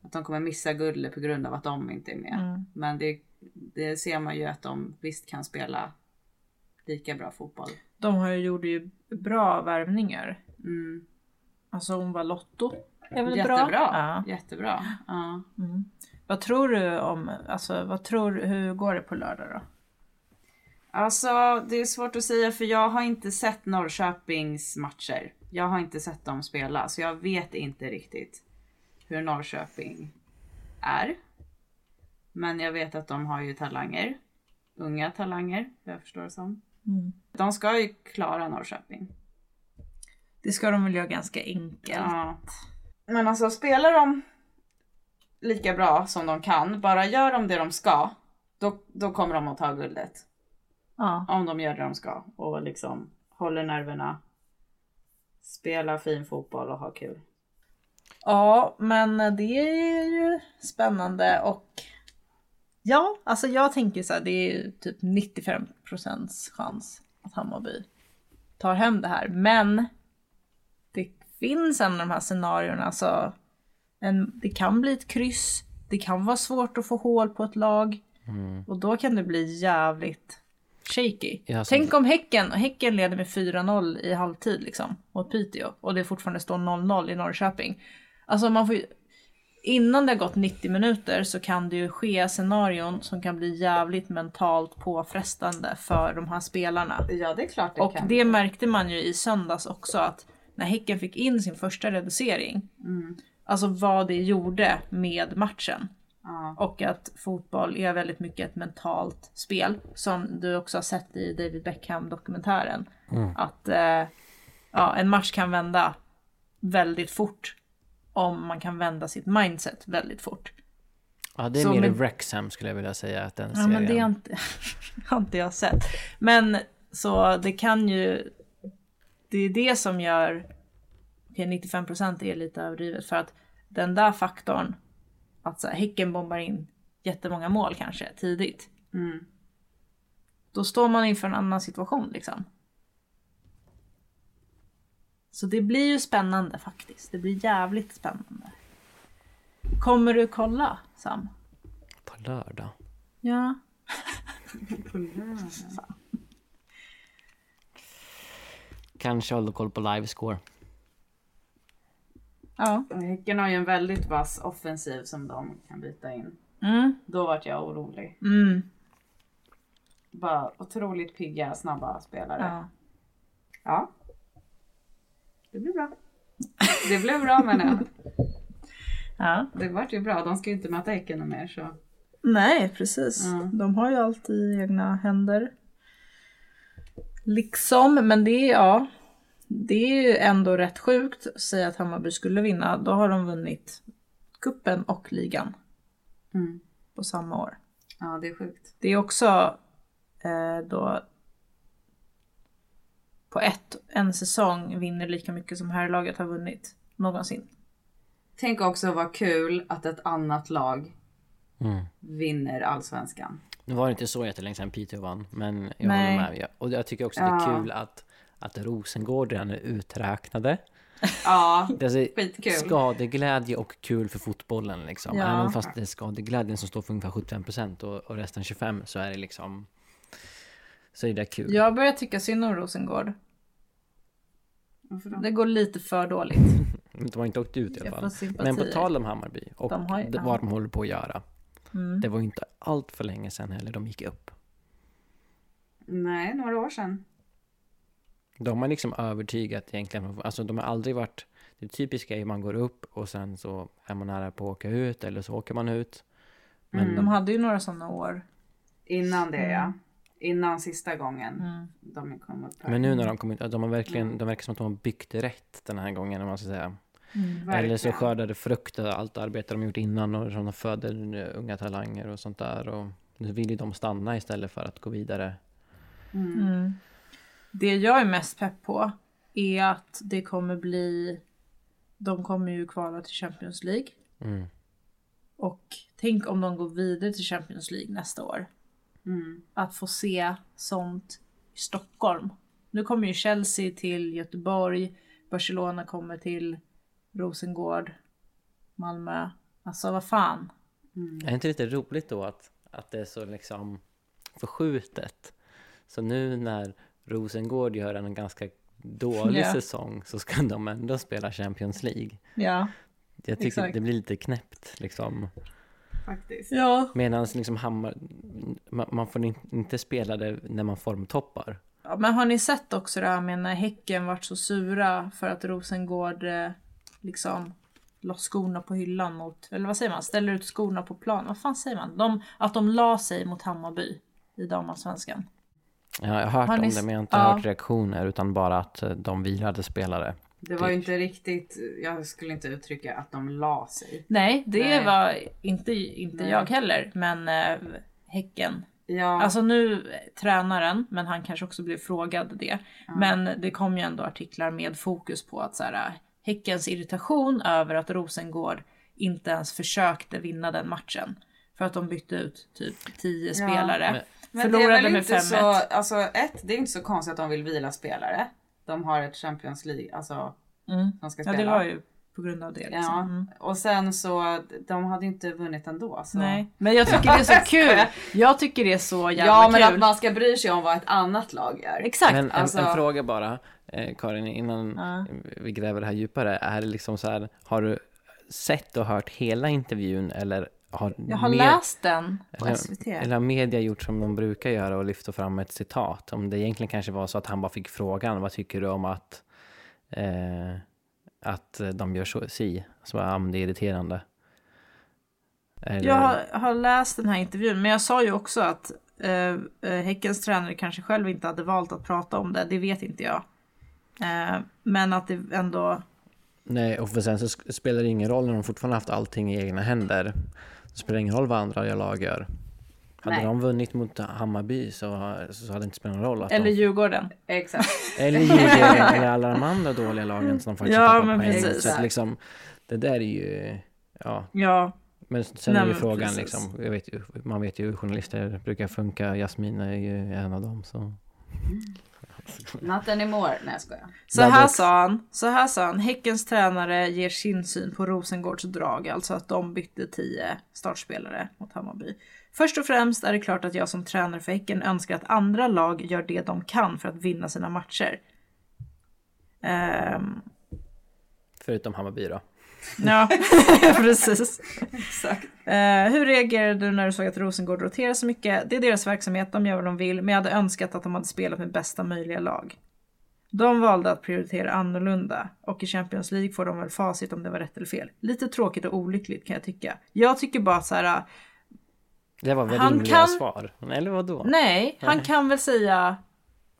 [SPEAKER 7] Att de kommer missa guldet på grund av att de inte är
[SPEAKER 5] Mm.
[SPEAKER 7] med. Men det, det ser man ju att de visst kan spela lika bra fotboll.
[SPEAKER 5] De har ju gjort ju bra värvningar.
[SPEAKER 7] Mm.
[SPEAKER 5] Alltså hon var Lotto. Är väl
[SPEAKER 7] Jättebra,
[SPEAKER 5] bra? Ja.
[SPEAKER 7] jättebra. Ja.
[SPEAKER 5] Vad tror du om, alltså vad tror, hur går det på lördag då?
[SPEAKER 7] Alltså det är svårt att säga för jag har inte sett Norrköpings matcher. Jag har inte sett dem spela så jag vet inte riktigt hur Norrköping är. Men jag vet att de har ju talanger. Unga talanger, jag förstår det som. De ska ju klara Norrköping.
[SPEAKER 5] Det ska de väl göra ganska enkelt.
[SPEAKER 7] Ja. Men alltså spelar de lika bra som de kan, bara gör de det de ska, då, då kommer de att ta guldet.
[SPEAKER 5] Ja.
[SPEAKER 7] om de gör det de ska och liksom håller nerverna, spelar fin fotboll och har kul.
[SPEAKER 5] Ja, men det är ju spännande och ja, alltså jag tänker så här, det är ju typ 95% chans att Hammarby tar hem det här. Men det finns en av de här scenarierna, alltså en, det kan bli ett kryss, det kan vara svårt att få hål på ett lag och då kan det bli jävligt shaky.
[SPEAKER 6] Mm. Ja, alltså-
[SPEAKER 5] Tänk om Häcken, Häcken leder med 4-0 i halvtid liksom mot Piteå och det fortfarande står 0-0 i Norrköping. Alltså man får ju, innan det har gått 90 minuter så kan det ju ske scenarion som kan bli jävligt mentalt påfrestande för de här spelarna.
[SPEAKER 7] Ja, det är klart det
[SPEAKER 5] Och
[SPEAKER 7] kan.
[SPEAKER 5] det märkte man ju i söndags också att när Häcken fick in sin första reducering,
[SPEAKER 7] Mm.
[SPEAKER 5] alltså vad det gjorde med matchen.
[SPEAKER 7] Ja.
[SPEAKER 5] Och att fotboll är väldigt mycket ett mentalt spel. Som du också har sett i David Beckham-dokumentären. Att eh, ja, en match kan vända väldigt fort. Om man kan vända sitt mindset väldigt fort.
[SPEAKER 6] Ja, det är
[SPEAKER 5] Så
[SPEAKER 6] mer
[SPEAKER 5] med-
[SPEAKER 6] Wrexham skulle jag vilja säga att den
[SPEAKER 5] Ja,
[SPEAKER 6] serien.
[SPEAKER 5] men det har inte, har inte jag sett. Men så det kan ju... Det är det som gör... Okej, 95% är lite överdrivet för att den där faktorn att så här, Häcken bombar in jättemånga mål kanske tidigt.
[SPEAKER 7] Mm.
[SPEAKER 5] Då står man inför en annan situation liksom. Så det blir ju spännande faktiskt. Det blir jävligt spännande. Kommer du kolla Sam?
[SPEAKER 6] På lördag.
[SPEAKER 5] Ja.
[SPEAKER 6] Kanske håller koll på livescore.
[SPEAKER 5] Ja.
[SPEAKER 7] Häcken har ju en väldigt vass offensiv som de kan byta in.
[SPEAKER 5] Mm.
[SPEAKER 7] Då vart jag orolig.
[SPEAKER 5] Mm.
[SPEAKER 7] Bara otroligt pigga, snabba spelare. Ja.
[SPEAKER 5] Ja.
[SPEAKER 7] Det blir bra. Det blev bra menar jag.
[SPEAKER 5] ja.
[SPEAKER 7] Det vart ju bra. De ska ju inte möta Häcken och mer så.
[SPEAKER 5] Nej, precis.
[SPEAKER 7] Ja.
[SPEAKER 5] De har ju allt i egna händer. Liksom, men det är, ja, det är ju ändå rätt sjukt att säga att Hammarby skulle vinna. Då har de vunnit kuppen och ligan
[SPEAKER 7] Mm.
[SPEAKER 5] på samma år.
[SPEAKER 7] Ja, det är sjukt.
[SPEAKER 5] Det är också eh, då på ett, en säsong vinner lika mycket som herrlaget har vunnit någonsin.
[SPEAKER 7] Tänk också vad kul att ett annat lag
[SPEAKER 6] Mm.
[SPEAKER 7] vinner allsvenskan.
[SPEAKER 6] Nu var det inte så jättelänge sedan Piteå vann, men jag
[SPEAKER 5] Nej.
[SPEAKER 6] håller med. Jag- Och jag tycker också att det är
[SPEAKER 7] Ja.
[SPEAKER 6] kul att, att Rosengård redan är uträknade.
[SPEAKER 7] Ja,
[SPEAKER 6] Det är
[SPEAKER 7] Skitkul.
[SPEAKER 6] alltså skadeglädje och kul för fotbollen liksom.
[SPEAKER 5] Ja.
[SPEAKER 6] Även fast det är skadeglädjen som står för ungefär 75% och, och resten 25% så är det liksom... Så är det kul.
[SPEAKER 5] Jag börjar tycka synd om Rosengård.
[SPEAKER 7] varför då? Mm.
[SPEAKER 5] Det går lite för dåligt.
[SPEAKER 6] De har inte åkt ut i alla
[SPEAKER 5] Jag
[SPEAKER 6] fall.
[SPEAKER 5] får sympatier.
[SPEAKER 6] Men på tal om Hammarby och
[SPEAKER 5] De har ju- Mm.
[SPEAKER 6] d- vad de håller på att göra. Det var ju inte allt för länge sedan heller de gick upp.
[SPEAKER 7] Nej, några år sedan.
[SPEAKER 6] De har liksom övertygat egentligen. Alltså de har aldrig varit... Det typiska är ju man går upp och sen så är man nära på att åka ut eller så åker man ut. Men
[SPEAKER 5] Mm, De hade ju några sådana år.
[SPEAKER 7] Innan
[SPEAKER 5] Mm.
[SPEAKER 7] det ja. Innan sista gången de kom upp här.
[SPEAKER 6] Men
[SPEAKER 5] Mm.
[SPEAKER 6] nu när de kommer de har verkligen, de verkar som att de har byggt rätt den här gången om man ska säga.
[SPEAKER 5] Mm.
[SPEAKER 6] Eller så
[SPEAKER 7] Verkligen.
[SPEAKER 6] skördar det frukt av allt arbete de gjort innan och som de föder eh, unga talanger och sånt där. Och nu vill ju de stanna istället för att gå vidare.
[SPEAKER 7] Mm.
[SPEAKER 5] Mm. Det jag är mest pepp på är att det kommer bli... De kommer ju kvala till Champions League.
[SPEAKER 6] Mm.
[SPEAKER 5] Och tänk om de går vidare till Champions League nästa år.
[SPEAKER 7] Mm.
[SPEAKER 5] Att få se sånt i Stockholm. Nu kommer ju Chelsea till Göteborg, Barcelona kommer till Rosengård, Malmö. Alltså vad fan.
[SPEAKER 6] Är det inte lite roligt då att, att det är så liksom förskjutet? Så nu när Rosengård gör en ganska dålig
[SPEAKER 5] Ja.
[SPEAKER 6] säsong så ska de ändå spela Champions League.
[SPEAKER 5] Ja.
[SPEAKER 6] Jag tycker
[SPEAKER 5] Exakt.
[SPEAKER 6] det blir lite knäppt liksom.
[SPEAKER 7] Faktiskt.
[SPEAKER 5] Ja.
[SPEAKER 6] Medan liksom Hammar, man, man får in- inte spela det när man formtoppar.
[SPEAKER 5] Ja, men har ni sett också det här med när Häcken vart så sura för att Rosengård eh, liksom la skorna på hyllan mot, eller vad säger man, ställer ut skorna på plan. Vad fan säger man? De, att de la sig mot Hammarby i damallsvenskan.
[SPEAKER 6] Ja, jag har hört
[SPEAKER 5] Har ni
[SPEAKER 6] om
[SPEAKER 5] s-
[SPEAKER 6] det men jag har inte
[SPEAKER 5] ja.
[SPEAKER 6] hört reaktioner utan bara att eh, de vilade spelare.
[SPEAKER 7] Det
[SPEAKER 5] typ.
[SPEAKER 7] var ju inte riktigt, jag skulle inte uttrycka att de la sig.
[SPEAKER 5] Nej, det
[SPEAKER 7] Nej.
[SPEAKER 5] var inte, inte
[SPEAKER 7] Nej.
[SPEAKER 5] jag heller, men eh, Häcken.
[SPEAKER 7] Ja,
[SPEAKER 5] Alltså nu eh, tränaren, men han kanske också blev frågad det. Men det kom ju ändå artiklar med fokus på att så här, eh, Häckens irritation över att Rosengård inte ens försökte vinna den matchen. För att de bytte ut typ 10 spelare.
[SPEAKER 7] Men det är
[SPEAKER 5] Förlorade
[SPEAKER 7] väl
[SPEAKER 5] med
[SPEAKER 7] inte
[SPEAKER 5] 5-1.
[SPEAKER 7] så, alltså ett, det är inte så konstigt att de vill vila spelare. De har ett Champions League, alltså
[SPEAKER 5] Mm.
[SPEAKER 7] de ska
[SPEAKER 5] Ja,
[SPEAKER 7] spela.
[SPEAKER 5] det var ju på grund av det. Liksom.
[SPEAKER 7] Ja,
[SPEAKER 5] Mm.
[SPEAKER 7] och sen så, de hade ju inte vunnit ändå. Så.
[SPEAKER 5] Nej. Men jag tycker det är så kul. Jag tycker det är så jävla
[SPEAKER 7] Ja, men
[SPEAKER 5] kul.
[SPEAKER 7] att man ska bry sig om vad ett annat lag gör.
[SPEAKER 5] Exakt.
[SPEAKER 6] Men en,
[SPEAKER 7] alltså-
[SPEAKER 6] en fråga bara, eh, Karin, innan
[SPEAKER 5] Ja.
[SPEAKER 6] vi gräver det här djupare. Är det liksom så här, har du sett och hört hela intervjun eller har,
[SPEAKER 5] jag har
[SPEAKER 6] med-
[SPEAKER 5] läst den på
[SPEAKER 6] eller-
[SPEAKER 5] SVT.
[SPEAKER 6] eller har media gjort som de brukar göra och lyfter fram ett citat? Om det egentligen kanske var så att han bara fick frågan, vad tycker du om att, eh, att de gör så, si? Så bara, ja, men det är irriterande. Eller,
[SPEAKER 5] Jag har, har läst den här intervjun, men jag sa ju också att eh, eh, Häckens tränare kanske själv inte hade valt att prata om det. Det vet inte jag. Eh, men att det ändå...
[SPEAKER 6] Nej, och för sen så sk- spelar det ingen roll när de fortfarande haft allting i egna händer. Det spelar ingen roll vad andra lag gör. Hade
[SPEAKER 7] Nej.
[SPEAKER 6] de vunnit mot Hammarby så, så hade det inte spelat någon roll. Att
[SPEAKER 5] Eller
[SPEAKER 6] de,
[SPEAKER 5] Djurgården.
[SPEAKER 7] Exakt.
[SPEAKER 6] eller Djurgården eller alla de andra dåliga lagen som de faktiskt
[SPEAKER 5] Ja,
[SPEAKER 6] har tappat
[SPEAKER 5] men
[SPEAKER 6] poäng.
[SPEAKER 5] precis.
[SPEAKER 6] Så att liksom, det där är ju... Ja,
[SPEAKER 5] Ja,
[SPEAKER 6] men sen
[SPEAKER 5] Nej,
[SPEAKER 6] är ju
[SPEAKER 5] men
[SPEAKER 6] frågan
[SPEAKER 5] precis.
[SPEAKER 6] liksom, jag vet, ju- man vet ju hur journalister brukar funka. Jasmin är ju en av dem. Så.
[SPEAKER 7] Not anymore. Nej jag skojar.
[SPEAKER 5] Så
[SPEAKER 6] Där
[SPEAKER 5] här,
[SPEAKER 6] dock-
[SPEAKER 5] sa han, så här sa han, Häckens tränare ger sin syn på Rosengårds drag, alltså att de bytte 10 startspelare mot Hammarby. Först och främst är det klart att jag som tränare för Häcken önskar att andra lag gör det de kan för att vinna sina matcher. Ehm,
[SPEAKER 6] Förutom Hammarby då.
[SPEAKER 5] ja, precis. Eh, hur reagerade du när du såg att Rosengård roterar så mycket? Det är deras verksamhet, de gör vad de vill, men jag hade önskat att de hade spelat med bästa möjliga lag. De valde att prioritera annorlunda och i Champions League får de väl facit om det var rätt eller fel. Lite tråkigt och olyckligt kan jag tycka. Jag tycker bara så här.
[SPEAKER 6] Det var väl
[SPEAKER 5] Han
[SPEAKER 6] rimliga
[SPEAKER 5] kan-
[SPEAKER 6] svar? Eller vadå?
[SPEAKER 5] nej, han kan väl säga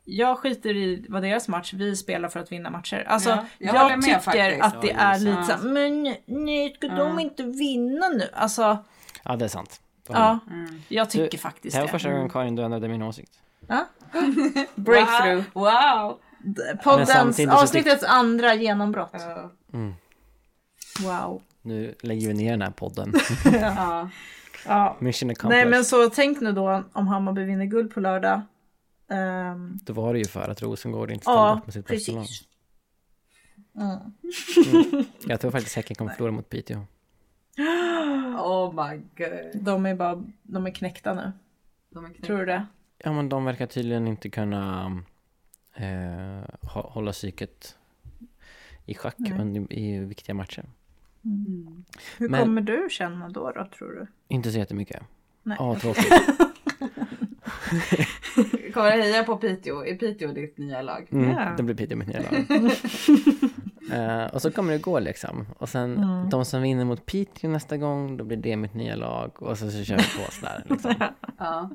[SPEAKER 5] jag skiter i vad deras match, vi spelar för att vinna matcher. Alltså,
[SPEAKER 7] Ja, jag
[SPEAKER 5] jag,
[SPEAKER 7] håller med
[SPEAKER 5] tycker
[SPEAKER 7] faktiskt.
[SPEAKER 5] att det
[SPEAKER 6] Ja,
[SPEAKER 5] är
[SPEAKER 6] det är
[SPEAKER 5] lite så. här, men nej, ska de inte vinna nu? Alltså,
[SPEAKER 6] Ja, det är sant.
[SPEAKER 5] ja, Mm. jag tycker
[SPEAKER 6] Du,
[SPEAKER 5] faktiskt
[SPEAKER 6] Mm. Det här var första gången Karin du ändrade min åsikt.
[SPEAKER 5] Breakthrough.
[SPEAKER 7] Wow.
[SPEAKER 6] Men
[SPEAKER 5] Poddens,
[SPEAKER 6] samtidigt så Mm.
[SPEAKER 5] avsnittets andra genombrott. Wow.
[SPEAKER 6] Nu lägger vi ner den här podden.
[SPEAKER 7] Ja.
[SPEAKER 5] Ja.
[SPEAKER 6] Mission accomplished.
[SPEAKER 5] Nej men så tänk nu då om Hammarby vinner guld på lördag. Ehm,
[SPEAKER 6] Då var det ju för att Rosengård inte ställde
[SPEAKER 5] ja,
[SPEAKER 6] upp med sitt bästa lag.
[SPEAKER 5] precis. Mm.
[SPEAKER 6] Jag tror faktiskt Häcken kommer förlora mot Piteå.
[SPEAKER 7] Oh my god.
[SPEAKER 5] De är bara, de är knäckta nu.
[SPEAKER 7] De är knäckta.
[SPEAKER 5] Tror du det?
[SPEAKER 6] Ja men de verkar tydligen inte kunna eh, hå- hålla psyket i schack under, i viktiga matcher.
[SPEAKER 5] Hur
[SPEAKER 6] Men-
[SPEAKER 5] kommer du känna då, då tror du?
[SPEAKER 6] Inte så jättemycket.
[SPEAKER 5] Nej.
[SPEAKER 6] Ah, tråkigt.
[SPEAKER 7] Kommer du heja på Piteå? Är Piteå ditt nya lag?
[SPEAKER 6] Mm,
[SPEAKER 5] Ja.
[SPEAKER 6] Det blir Piteå mitt nya lag. Eh, och så kommer det gå liksom. Och sen de som vinner mot Piteå nästa gång, då blir det mitt nya lag. Och så, så kör vi på sådär. Liksom.
[SPEAKER 7] Ja.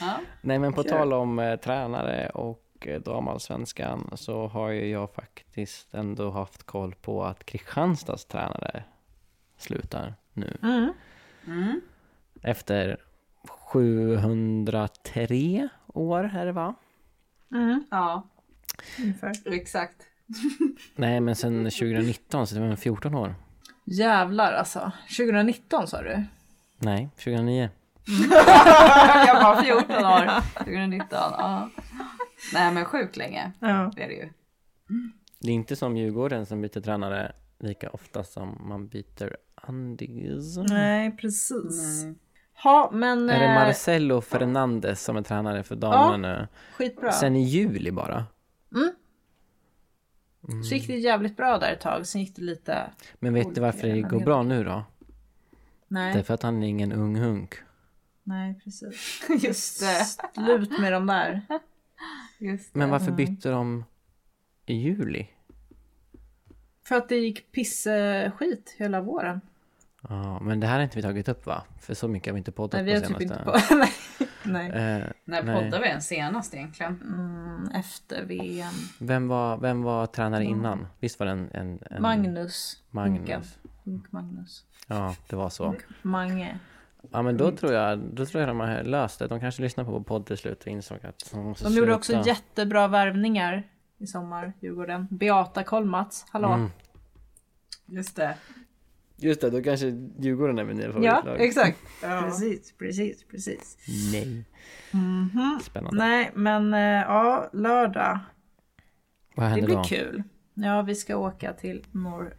[SPEAKER 7] ja.
[SPEAKER 6] Nej men på tal om eh, tränare och eh, damallsvenskan så har ju jag faktiskt ändå haft koll på att Kristianstads tränare slutar nu. Efter 703 år är det va?
[SPEAKER 7] Ja,
[SPEAKER 5] Ungefär.
[SPEAKER 7] exakt.
[SPEAKER 6] Nej men sen 2019 så det var 14 år.
[SPEAKER 5] Jävlar alltså. 2019 sa du?
[SPEAKER 6] Nej, 2009.
[SPEAKER 7] Jag var 14 år 2019. Ja. Nej men sjukt länge.
[SPEAKER 5] Ja.
[SPEAKER 7] Det är det ju.
[SPEAKER 6] Det är inte som Djurgården som byter tränare lika ofta som man byter Andis.
[SPEAKER 5] Nej precis. Ja men
[SPEAKER 6] Är det
[SPEAKER 5] eh,
[SPEAKER 6] Marcelo Fernandes som är tränare för damerna nu?
[SPEAKER 5] eh, skitbra.
[SPEAKER 6] Sen i juli bara.
[SPEAKER 5] Så gick det jävligt bra där ett tag, sen gick det lite...
[SPEAKER 6] Men vet du varför det går bra nu då?
[SPEAKER 5] Nej.
[SPEAKER 6] Det är för att han är ingen ung hunk.
[SPEAKER 5] Nej, precis.
[SPEAKER 7] Just det.
[SPEAKER 5] Slut med de där.
[SPEAKER 7] Just det.
[SPEAKER 5] Mm.
[SPEAKER 6] Men varför bytte de i juli?
[SPEAKER 5] För att det gick pissskit hela våren.
[SPEAKER 6] Ja, men det här har inte vi tagit upp va? För så mycket har vi inte poddat
[SPEAKER 5] Nej, vi har
[SPEAKER 6] på senaste.
[SPEAKER 5] typ inte på... Nej. Nej.
[SPEAKER 6] Eh,
[SPEAKER 7] När
[SPEAKER 6] Nej.
[SPEAKER 7] poddar vi ens senast egentligen?
[SPEAKER 6] Eh.
[SPEAKER 5] Efter VM.
[SPEAKER 6] vem, var, vem var tränare innan? Visst var det en... en, en
[SPEAKER 5] Magnus.
[SPEAKER 6] Magnus.
[SPEAKER 5] Hunk Magnus.
[SPEAKER 6] Ja, det var så.
[SPEAKER 5] Mm. Mange.
[SPEAKER 6] Ja, men
[SPEAKER 5] Mm.
[SPEAKER 6] då tror jag, då tror jag de har löst det. De kanske lyssnade på vår podd till slut och insåg att de måste
[SPEAKER 5] De gjorde
[SPEAKER 6] sluta.
[SPEAKER 5] också
[SPEAKER 6] Mm.
[SPEAKER 5] jättebra värvningar i sommar, Djurgården. Beata Kolmats, hallå.
[SPEAKER 7] Just det.
[SPEAKER 6] Just det, då kanske Djurgården är min nya
[SPEAKER 5] Ja,
[SPEAKER 6] favoritlag.
[SPEAKER 5] exakt.
[SPEAKER 7] Ja.
[SPEAKER 5] Precis, precis, precis.
[SPEAKER 6] Nej.
[SPEAKER 5] Mhm.
[SPEAKER 6] Spännande.
[SPEAKER 5] Nej, men eh, ja, lördag.
[SPEAKER 6] Vad
[SPEAKER 5] Det
[SPEAKER 6] händer
[SPEAKER 5] blir
[SPEAKER 6] då?
[SPEAKER 5] kul. Ja, vi ska åka till Nor-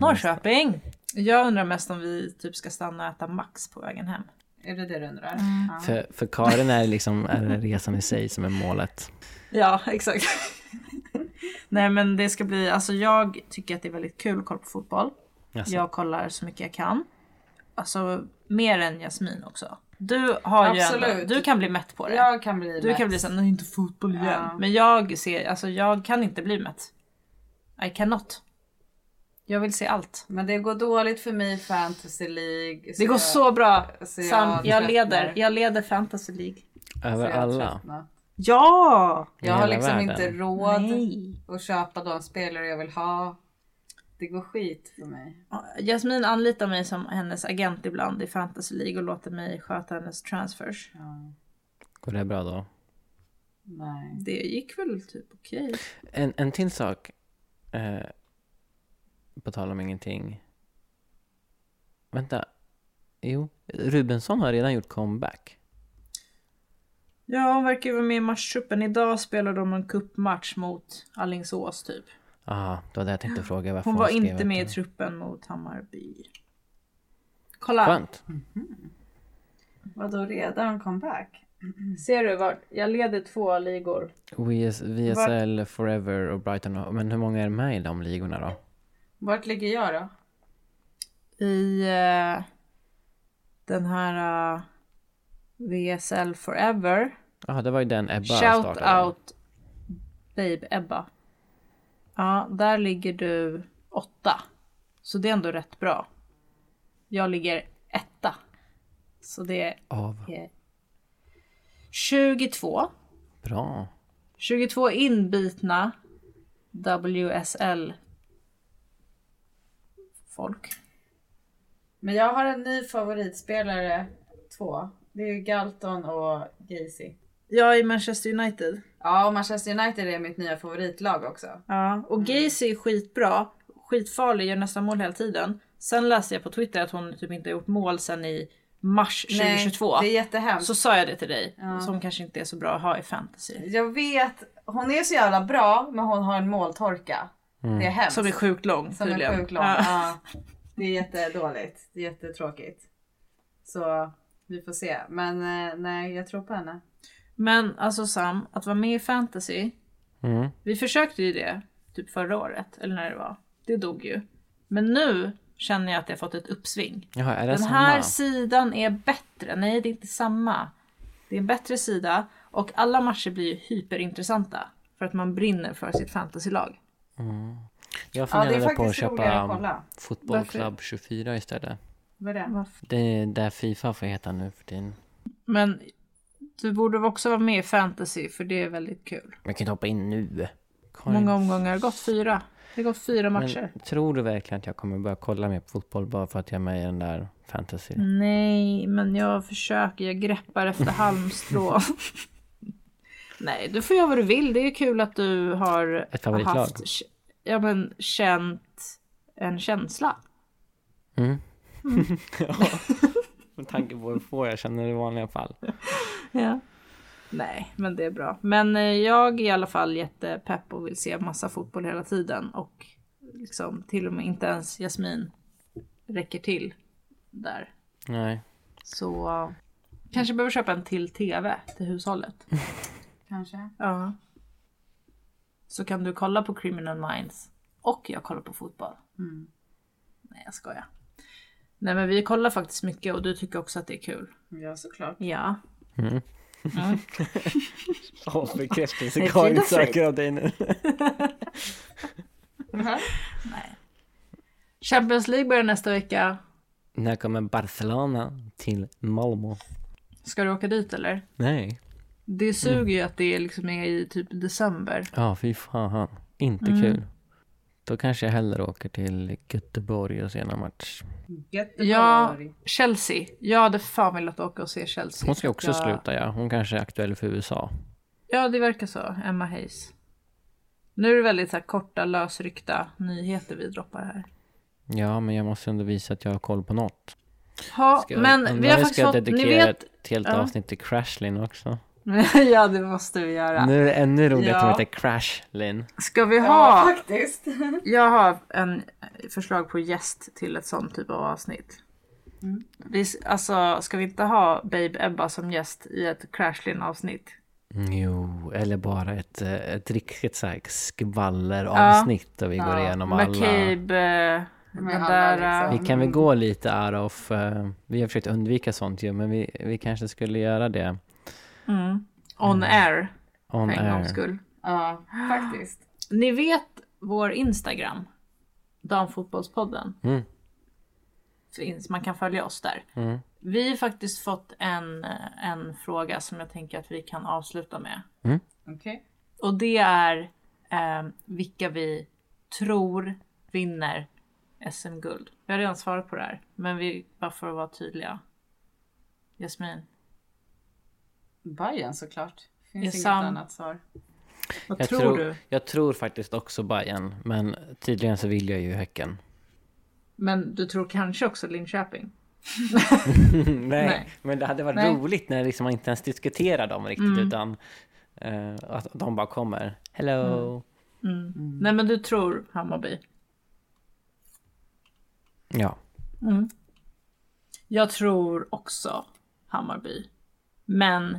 [SPEAKER 5] Norrköping. Jag undrar mest om vi typ ska stanna och äta Max på vägen hem. Mm.
[SPEAKER 7] Är det det du undrar? Ja.
[SPEAKER 6] För, för Karin är det liksom är det resan i sig som är målet.
[SPEAKER 5] Ja, exakt. Nej, men det ska bli, alltså jag tycker att det är väldigt kul att kolla på fotboll.
[SPEAKER 6] Jaså.
[SPEAKER 5] Jag kollar så mycket jag kan. Alltså mer än Jasmin också. Du har ju ändå,
[SPEAKER 7] Absolut.
[SPEAKER 5] du kan bli mätt på det.
[SPEAKER 7] Jag kan bli
[SPEAKER 5] du
[SPEAKER 7] mätt.
[SPEAKER 5] kan bli såhär, nej inte fotboll igen.
[SPEAKER 7] Ja.
[SPEAKER 5] Men jag ser, alltså jag kan inte bli mätt. I cannot. Jag vill se allt.
[SPEAKER 7] Men det går dåligt för mig i Fantasy League.
[SPEAKER 5] Det går så bra!
[SPEAKER 7] så
[SPEAKER 5] Sam,
[SPEAKER 7] jag
[SPEAKER 5] jag
[SPEAKER 7] tröttnar.
[SPEAKER 5] leder, jag leder fantasy League.
[SPEAKER 6] Över
[SPEAKER 7] jag
[SPEAKER 6] alla.
[SPEAKER 7] tröttnar.
[SPEAKER 5] Ja!
[SPEAKER 7] Jag
[SPEAKER 6] I
[SPEAKER 7] har
[SPEAKER 6] hela
[SPEAKER 7] liksom
[SPEAKER 6] världen.
[SPEAKER 7] inte råd
[SPEAKER 5] Nej.
[SPEAKER 7] att köpa de spelare jag vill ha. Det går skit för mig.
[SPEAKER 5] Jasmin anlitar mig som hennes agent ibland i fantasy League och låter mig sköta hennes transfers.
[SPEAKER 6] Går det bra då?
[SPEAKER 7] Nej.
[SPEAKER 5] Det gick väl typ okej.
[SPEAKER 6] En, en till sak. Eh, på tal om ingenting. Vänta. Jo, Rubensson har redan gjort comeback.
[SPEAKER 5] Ja, hon verkar ju vara med i matchtruppen. Idag spelar de en cupmatch mot Alingsås typ.
[SPEAKER 6] Ja, Ah, det var det jag tänkte fråga. Varför
[SPEAKER 5] Hon var
[SPEAKER 6] skrev
[SPEAKER 5] inte
[SPEAKER 6] att
[SPEAKER 5] med i
[SPEAKER 6] det-
[SPEAKER 5] truppen mot Hammarby. Kolla!
[SPEAKER 6] Skönt.
[SPEAKER 7] Vadå redan comeback?
[SPEAKER 5] Ser du vart? Jag leder två ligor.
[SPEAKER 6] VS, VSL, Forever och Brighton. och- Men hur många är med i de ligorna då?
[SPEAKER 7] Vart ligger jag då?
[SPEAKER 5] I eh, den här eh, VSL Forever.
[SPEAKER 6] Ja, Ah, det var ju den Ebba
[SPEAKER 5] Shout
[SPEAKER 6] startade.
[SPEAKER 5] out Babe Ebba. Ja, där ligger du åtta. Så det är ändå rätt bra. Jag ligger etta. Så det
[SPEAKER 6] Av.
[SPEAKER 5] är 22.
[SPEAKER 6] Bra.
[SPEAKER 5] 22 inbitna WSL folk.
[SPEAKER 7] Men jag har en ny favoritspelare, två. Det är ju Galton och Gacy.
[SPEAKER 5] Jag är Manchester United.
[SPEAKER 7] Ja, och Manchester United är mitt nya favoritlag också.
[SPEAKER 5] Ja,
[SPEAKER 7] Mm.
[SPEAKER 5] och Gacy är skitbra, skitfarlig, gör nästan mål hela tiden. Sen läste jag på Twitter att hon typ inte har gjort mål sen i mars 2022.
[SPEAKER 7] Nej, det är jättehemskt.
[SPEAKER 5] Så sa jag det till dig, som kanske inte är så bra att ha i fantasy.
[SPEAKER 7] Jag vet, hon är så jävla bra men hon har en måltorka. Det är hemskt.
[SPEAKER 5] Som är sjukt lång
[SPEAKER 7] Som
[SPEAKER 5] tydligen.
[SPEAKER 7] är sjukt lång.
[SPEAKER 5] Ja.
[SPEAKER 7] Ja. Det är jättedåligt. Det är jättetråkigt. Så vi får se. Men eh, nej, jag tror på henne.
[SPEAKER 5] Men alltså Sam, att vara med i fantasy,
[SPEAKER 6] Mm.
[SPEAKER 5] vi försökte ju det typ förra året, eller när det var. Det dog ju. Men nu känner jag att jag fått ett uppsving.
[SPEAKER 6] Jaha, är det
[SPEAKER 5] Den
[SPEAKER 6] samma?
[SPEAKER 5] här sidan är bättre. Nej, det är inte samma. Det är en bättre sida och alla matcher blir ju hyperintressanta för att man brinner för sitt fantasylag.
[SPEAKER 6] Jag
[SPEAKER 7] Ja, det är
[SPEAKER 6] funderade på att
[SPEAKER 7] faktiskt roligare
[SPEAKER 6] köpa
[SPEAKER 7] att kolla.
[SPEAKER 6] Football
[SPEAKER 5] Varför?
[SPEAKER 6] Club 24 istället.
[SPEAKER 7] Vad är det?
[SPEAKER 6] Det är där Fifa får heta nu för tiden.
[SPEAKER 5] Men du borde också vara med i fantasy för det är väldigt kul.
[SPEAKER 6] Men jag kan inte hoppa in nu.
[SPEAKER 5] Hur
[SPEAKER 6] Karin,
[SPEAKER 5] många omgångar har det gått? Fyra. Det har gått fyra matcher.
[SPEAKER 6] men tror du verkligen att jag kommer börja kolla mer på fotboll bara för att jag är med i den där fantasy?
[SPEAKER 7] Mm.
[SPEAKER 5] Nej, men jag försöker. Jag greppar efter halmstrå. Nej, du får göra vad du vill. Det är kul att du har
[SPEAKER 6] Ett favoritlag.
[SPEAKER 5] haft, ja, men, känt en känsla.
[SPEAKER 6] Med tanke på hur få jag känner i vanliga fall.
[SPEAKER 5] Ja. Nej, men det är bra. Men eh, jag är i alla fall jättepepp och vill se massa fotboll hela tiden. Och liksom, till och med inte ens Jasmin räcker till där.
[SPEAKER 6] Nej.
[SPEAKER 5] Så eh, kanske behöver köpa en till TV till hushållet.
[SPEAKER 7] Kanske.
[SPEAKER 5] Ja. Så kan du kolla på Criminal Minds och jag kollar på fotboll. Nej, jag skojar. Nej, men vi kollar faktiskt mycket och du tycker också att det är kul.
[SPEAKER 7] Ja, såklart.
[SPEAKER 5] Ja.
[SPEAKER 6] Åh, bekräftelse
[SPEAKER 5] Är Karin det fint? söker
[SPEAKER 6] av dig nu.
[SPEAKER 5] Champions League börjar nästa vecka.
[SPEAKER 6] När kommer Barcelona till Malmö?
[SPEAKER 5] Ska du åka dit eller?
[SPEAKER 6] Nej.
[SPEAKER 5] Det
[SPEAKER 6] Mm.
[SPEAKER 5] suger ju att det liksom är i typ december.
[SPEAKER 6] Ja, fy fan. Inte
[SPEAKER 7] Mm.
[SPEAKER 6] kul. Då kanske jag hellre åker till Göteborg och ser en match.
[SPEAKER 7] Göteborg.
[SPEAKER 5] Ja, Chelsea. Jag hade fan velat åka och se Chelsea.
[SPEAKER 6] Hon ska också
[SPEAKER 5] ja.
[SPEAKER 6] sluta ja. Hon kanske är aktuell för USA.
[SPEAKER 5] Ja, det verkar så. Emma Hayes. Nu är det väldigt så här korta, lösryckta nyheter vi droppar här.
[SPEAKER 6] Ja, men jag måste ändå visa att jag har koll på något.
[SPEAKER 5] Ja,
[SPEAKER 6] Ska,
[SPEAKER 5] men vi
[SPEAKER 6] undrar
[SPEAKER 5] har
[SPEAKER 6] om
[SPEAKER 5] faktiskt
[SPEAKER 6] ska
[SPEAKER 5] fått,
[SPEAKER 6] jag
[SPEAKER 5] ni
[SPEAKER 6] dedikera
[SPEAKER 5] vet...
[SPEAKER 6] ett helt
[SPEAKER 5] ja.
[SPEAKER 6] avsnitt till Crashlin också.
[SPEAKER 5] ja, det måste vi göra.
[SPEAKER 6] Nu är det ännu roligare att
[SPEAKER 7] Ja.
[SPEAKER 6] hon heter Crashlin.
[SPEAKER 5] Ska vi
[SPEAKER 7] Ja,
[SPEAKER 5] ha...
[SPEAKER 7] faktiskt.
[SPEAKER 5] Jag har en förslag på gäst till ett sånt typ av avsnitt.
[SPEAKER 7] Mm.
[SPEAKER 5] Vi, s- alltså, ska vi inte ha Babe Ebba som gäst i ett Crashlin avsnitt?
[SPEAKER 6] Mm, Jo, eller bara ett, eh, ett riktigt så här skvalleravsnitt där vi går igenom alla.
[SPEAKER 5] McCabe, eh, den
[SPEAKER 7] alla,
[SPEAKER 5] där... eh,
[SPEAKER 6] Vi
[SPEAKER 7] liksom.
[SPEAKER 6] kan väl gå lite out of... eh, vi har försökt undvika sånt ju, men vi, vi kanske skulle göra det
[SPEAKER 5] Mm, on air,
[SPEAKER 6] on
[SPEAKER 5] för en
[SPEAKER 6] air.
[SPEAKER 5] gångs skull.
[SPEAKER 7] Ja, faktiskt.
[SPEAKER 5] Ni vet vår Instagram, Damfotbollspodden.
[SPEAKER 6] Mm.
[SPEAKER 5] Finns, man kan följa oss där. Vi har faktiskt fått en, eh, en fråga som jag tänker att vi kan avsluta med.
[SPEAKER 7] Okej.
[SPEAKER 5] Och det är eh, vilka vi tror vinner SM-guld. Vi har redan svarat på det här, men vi, bara för att vara tydliga. Jasmin,
[SPEAKER 7] Bayern såklart. Finns
[SPEAKER 5] Ja,
[SPEAKER 7] inget
[SPEAKER 5] Sam.
[SPEAKER 7] annat svar.
[SPEAKER 5] vad
[SPEAKER 6] Jag,
[SPEAKER 5] tror, du?
[SPEAKER 6] jag tror faktiskt också Bayern, men tydligen så vill jag ju Häcken.
[SPEAKER 5] Men du tror kanske också Linköping?
[SPEAKER 6] Nej,
[SPEAKER 5] Nej.
[SPEAKER 6] men det hade varit
[SPEAKER 5] Nej. Mm.
[SPEAKER 6] roligt när liksom man inte ens diskuterar dem riktigt utan eh, att de bara kommer. Hello!
[SPEAKER 5] Mm. Nej, men du tror Hammarby?
[SPEAKER 6] Ja.
[SPEAKER 5] Jag tror också Hammarby. Men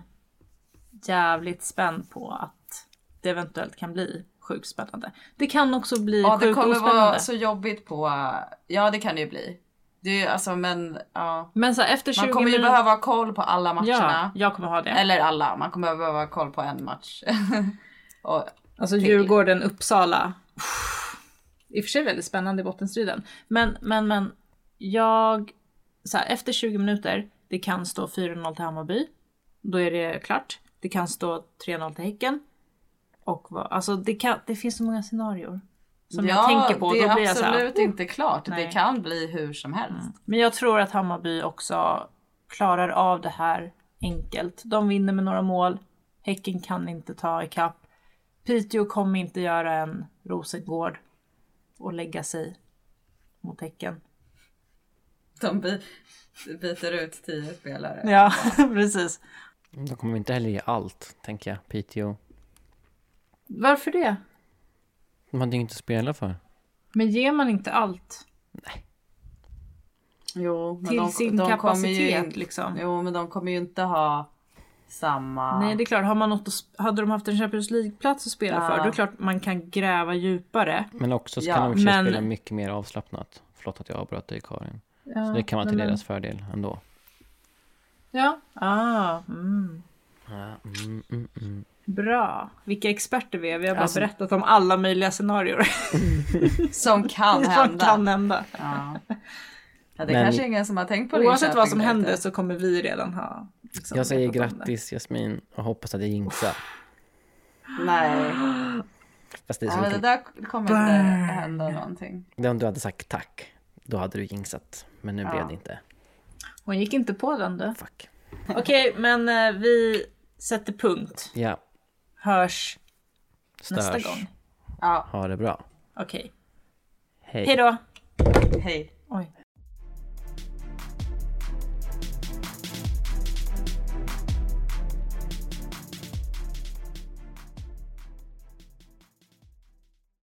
[SPEAKER 5] jävligt spänd på att det eventuellt kan bli sjukt spännande. Det kan också bli
[SPEAKER 7] Ja, det
[SPEAKER 5] sjukt
[SPEAKER 7] kommer
[SPEAKER 5] ospännande.
[SPEAKER 7] vara så jobbigt på... Ja, det kan det ju bli. Det är ju alltså, men ja.
[SPEAKER 5] Men så här, efter 20
[SPEAKER 7] Man kommer ju
[SPEAKER 5] minuter...
[SPEAKER 7] behöva ha koll på alla
[SPEAKER 5] Ja,
[SPEAKER 7] matcherna.
[SPEAKER 5] jag kommer ha det.
[SPEAKER 7] Eller alla, man kommer behöva ha koll på en match. Och,
[SPEAKER 5] Alltså Djurgården, Uppsala. I och för sig väldigt spännande i bottenstriden. Men, men, men. Jag, så här, efter 20 minuter, det kan stå 4-0 till Hammarby. Då är det klart. Det kan stå 3-0 till Häcken. Och vad, alltså det, kan, det finns så många scenarier. Som jag tänker på. och
[SPEAKER 7] det
[SPEAKER 5] Då
[SPEAKER 7] är
[SPEAKER 5] blir jag så här, "Oh,
[SPEAKER 7] absolut inte klart.
[SPEAKER 5] Nej.
[SPEAKER 7] Det kan bli hur som helst.
[SPEAKER 5] Men jag tror att Hammarby också klarar av det här enkelt. De vinner med några mål. Häcken kan inte ta ikapp. Piteå kommer inte göra en Rosengård och lägga sig mot Häcken.
[SPEAKER 7] De by- byter ut tio spelare.
[SPEAKER 5] Ja, precis.
[SPEAKER 6] De kommer inte heller ge allt, tänker jag, Piteå.
[SPEAKER 5] Varför det?
[SPEAKER 6] De hade ju inte att spela för.
[SPEAKER 5] Men ger man inte allt
[SPEAKER 7] Jo, men
[SPEAKER 5] till
[SPEAKER 7] de,
[SPEAKER 5] sin
[SPEAKER 7] de kommer ju
[SPEAKER 5] kapacitet
[SPEAKER 7] in,
[SPEAKER 5] liksom?
[SPEAKER 7] Jo, men de kommer ju inte ha samma...
[SPEAKER 5] Nej, det är klart. Har man något att, sp- hade de haft en Champions League-plats att spela för, då är det klart man kan gräva djupare.
[SPEAKER 6] Men också så
[SPEAKER 7] Ja,
[SPEAKER 6] kan de i och för sig
[SPEAKER 5] men-
[SPEAKER 6] spela mycket mer avslappnat. Förlåt att jag avbröt dig, Karin. så det kan vara
[SPEAKER 5] nej, men-
[SPEAKER 6] till deras fördel ändå.
[SPEAKER 5] Ja. Ah, mm.
[SPEAKER 6] Ja, mm, mm, mm.
[SPEAKER 5] Bra. Vilka experter vi är. Vi har bara
[SPEAKER 7] Alltså-
[SPEAKER 5] berättat om alla möjliga scenarier
[SPEAKER 7] Som kan
[SPEAKER 5] som
[SPEAKER 7] hända.
[SPEAKER 5] kan hända.
[SPEAKER 7] Ja. Ja, det
[SPEAKER 6] Men-
[SPEAKER 7] kanske är ingen som har tänkt på det.
[SPEAKER 5] Oavsett vad som händer så kommer vi redan ha... liksom,
[SPEAKER 6] Jag säger
[SPEAKER 5] vetat om det.
[SPEAKER 6] grattis Jasmin och hoppas att det jinxar.
[SPEAKER 7] Nej,
[SPEAKER 6] Fast det är
[SPEAKER 7] ja,
[SPEAKER 6] så
[SPEAKER 7] men det
[SPEAKER 6] mycket-
[SPEAKER 7] där kommer inte hända någonting.
[SPEAKER 6] det... om du hade sagt tack, då hade du jinxat. Men nu blev det inte.
[SPEAKER 5] Hon gick inte på den du.
[SPEAKER 6] Fuck.
[SPEAKER 5] Okej, men eh, vi sätter punkt.
[SPEAKER 6] Ja,
[SPEAKER 5] Hörs
[SPEAKER 6] störs.
[SPEAKER 5] nästa gång.
[SPEAKER 7] Ja,
[SPEAKER 6] Ha det bra.
[SPEAKER 5] Okej.
[SPEAKER 6] Hej.
[SPEAKER 5] Hej då!
[SPEAKER 7] hej.
[SPEAKER 5] Oj.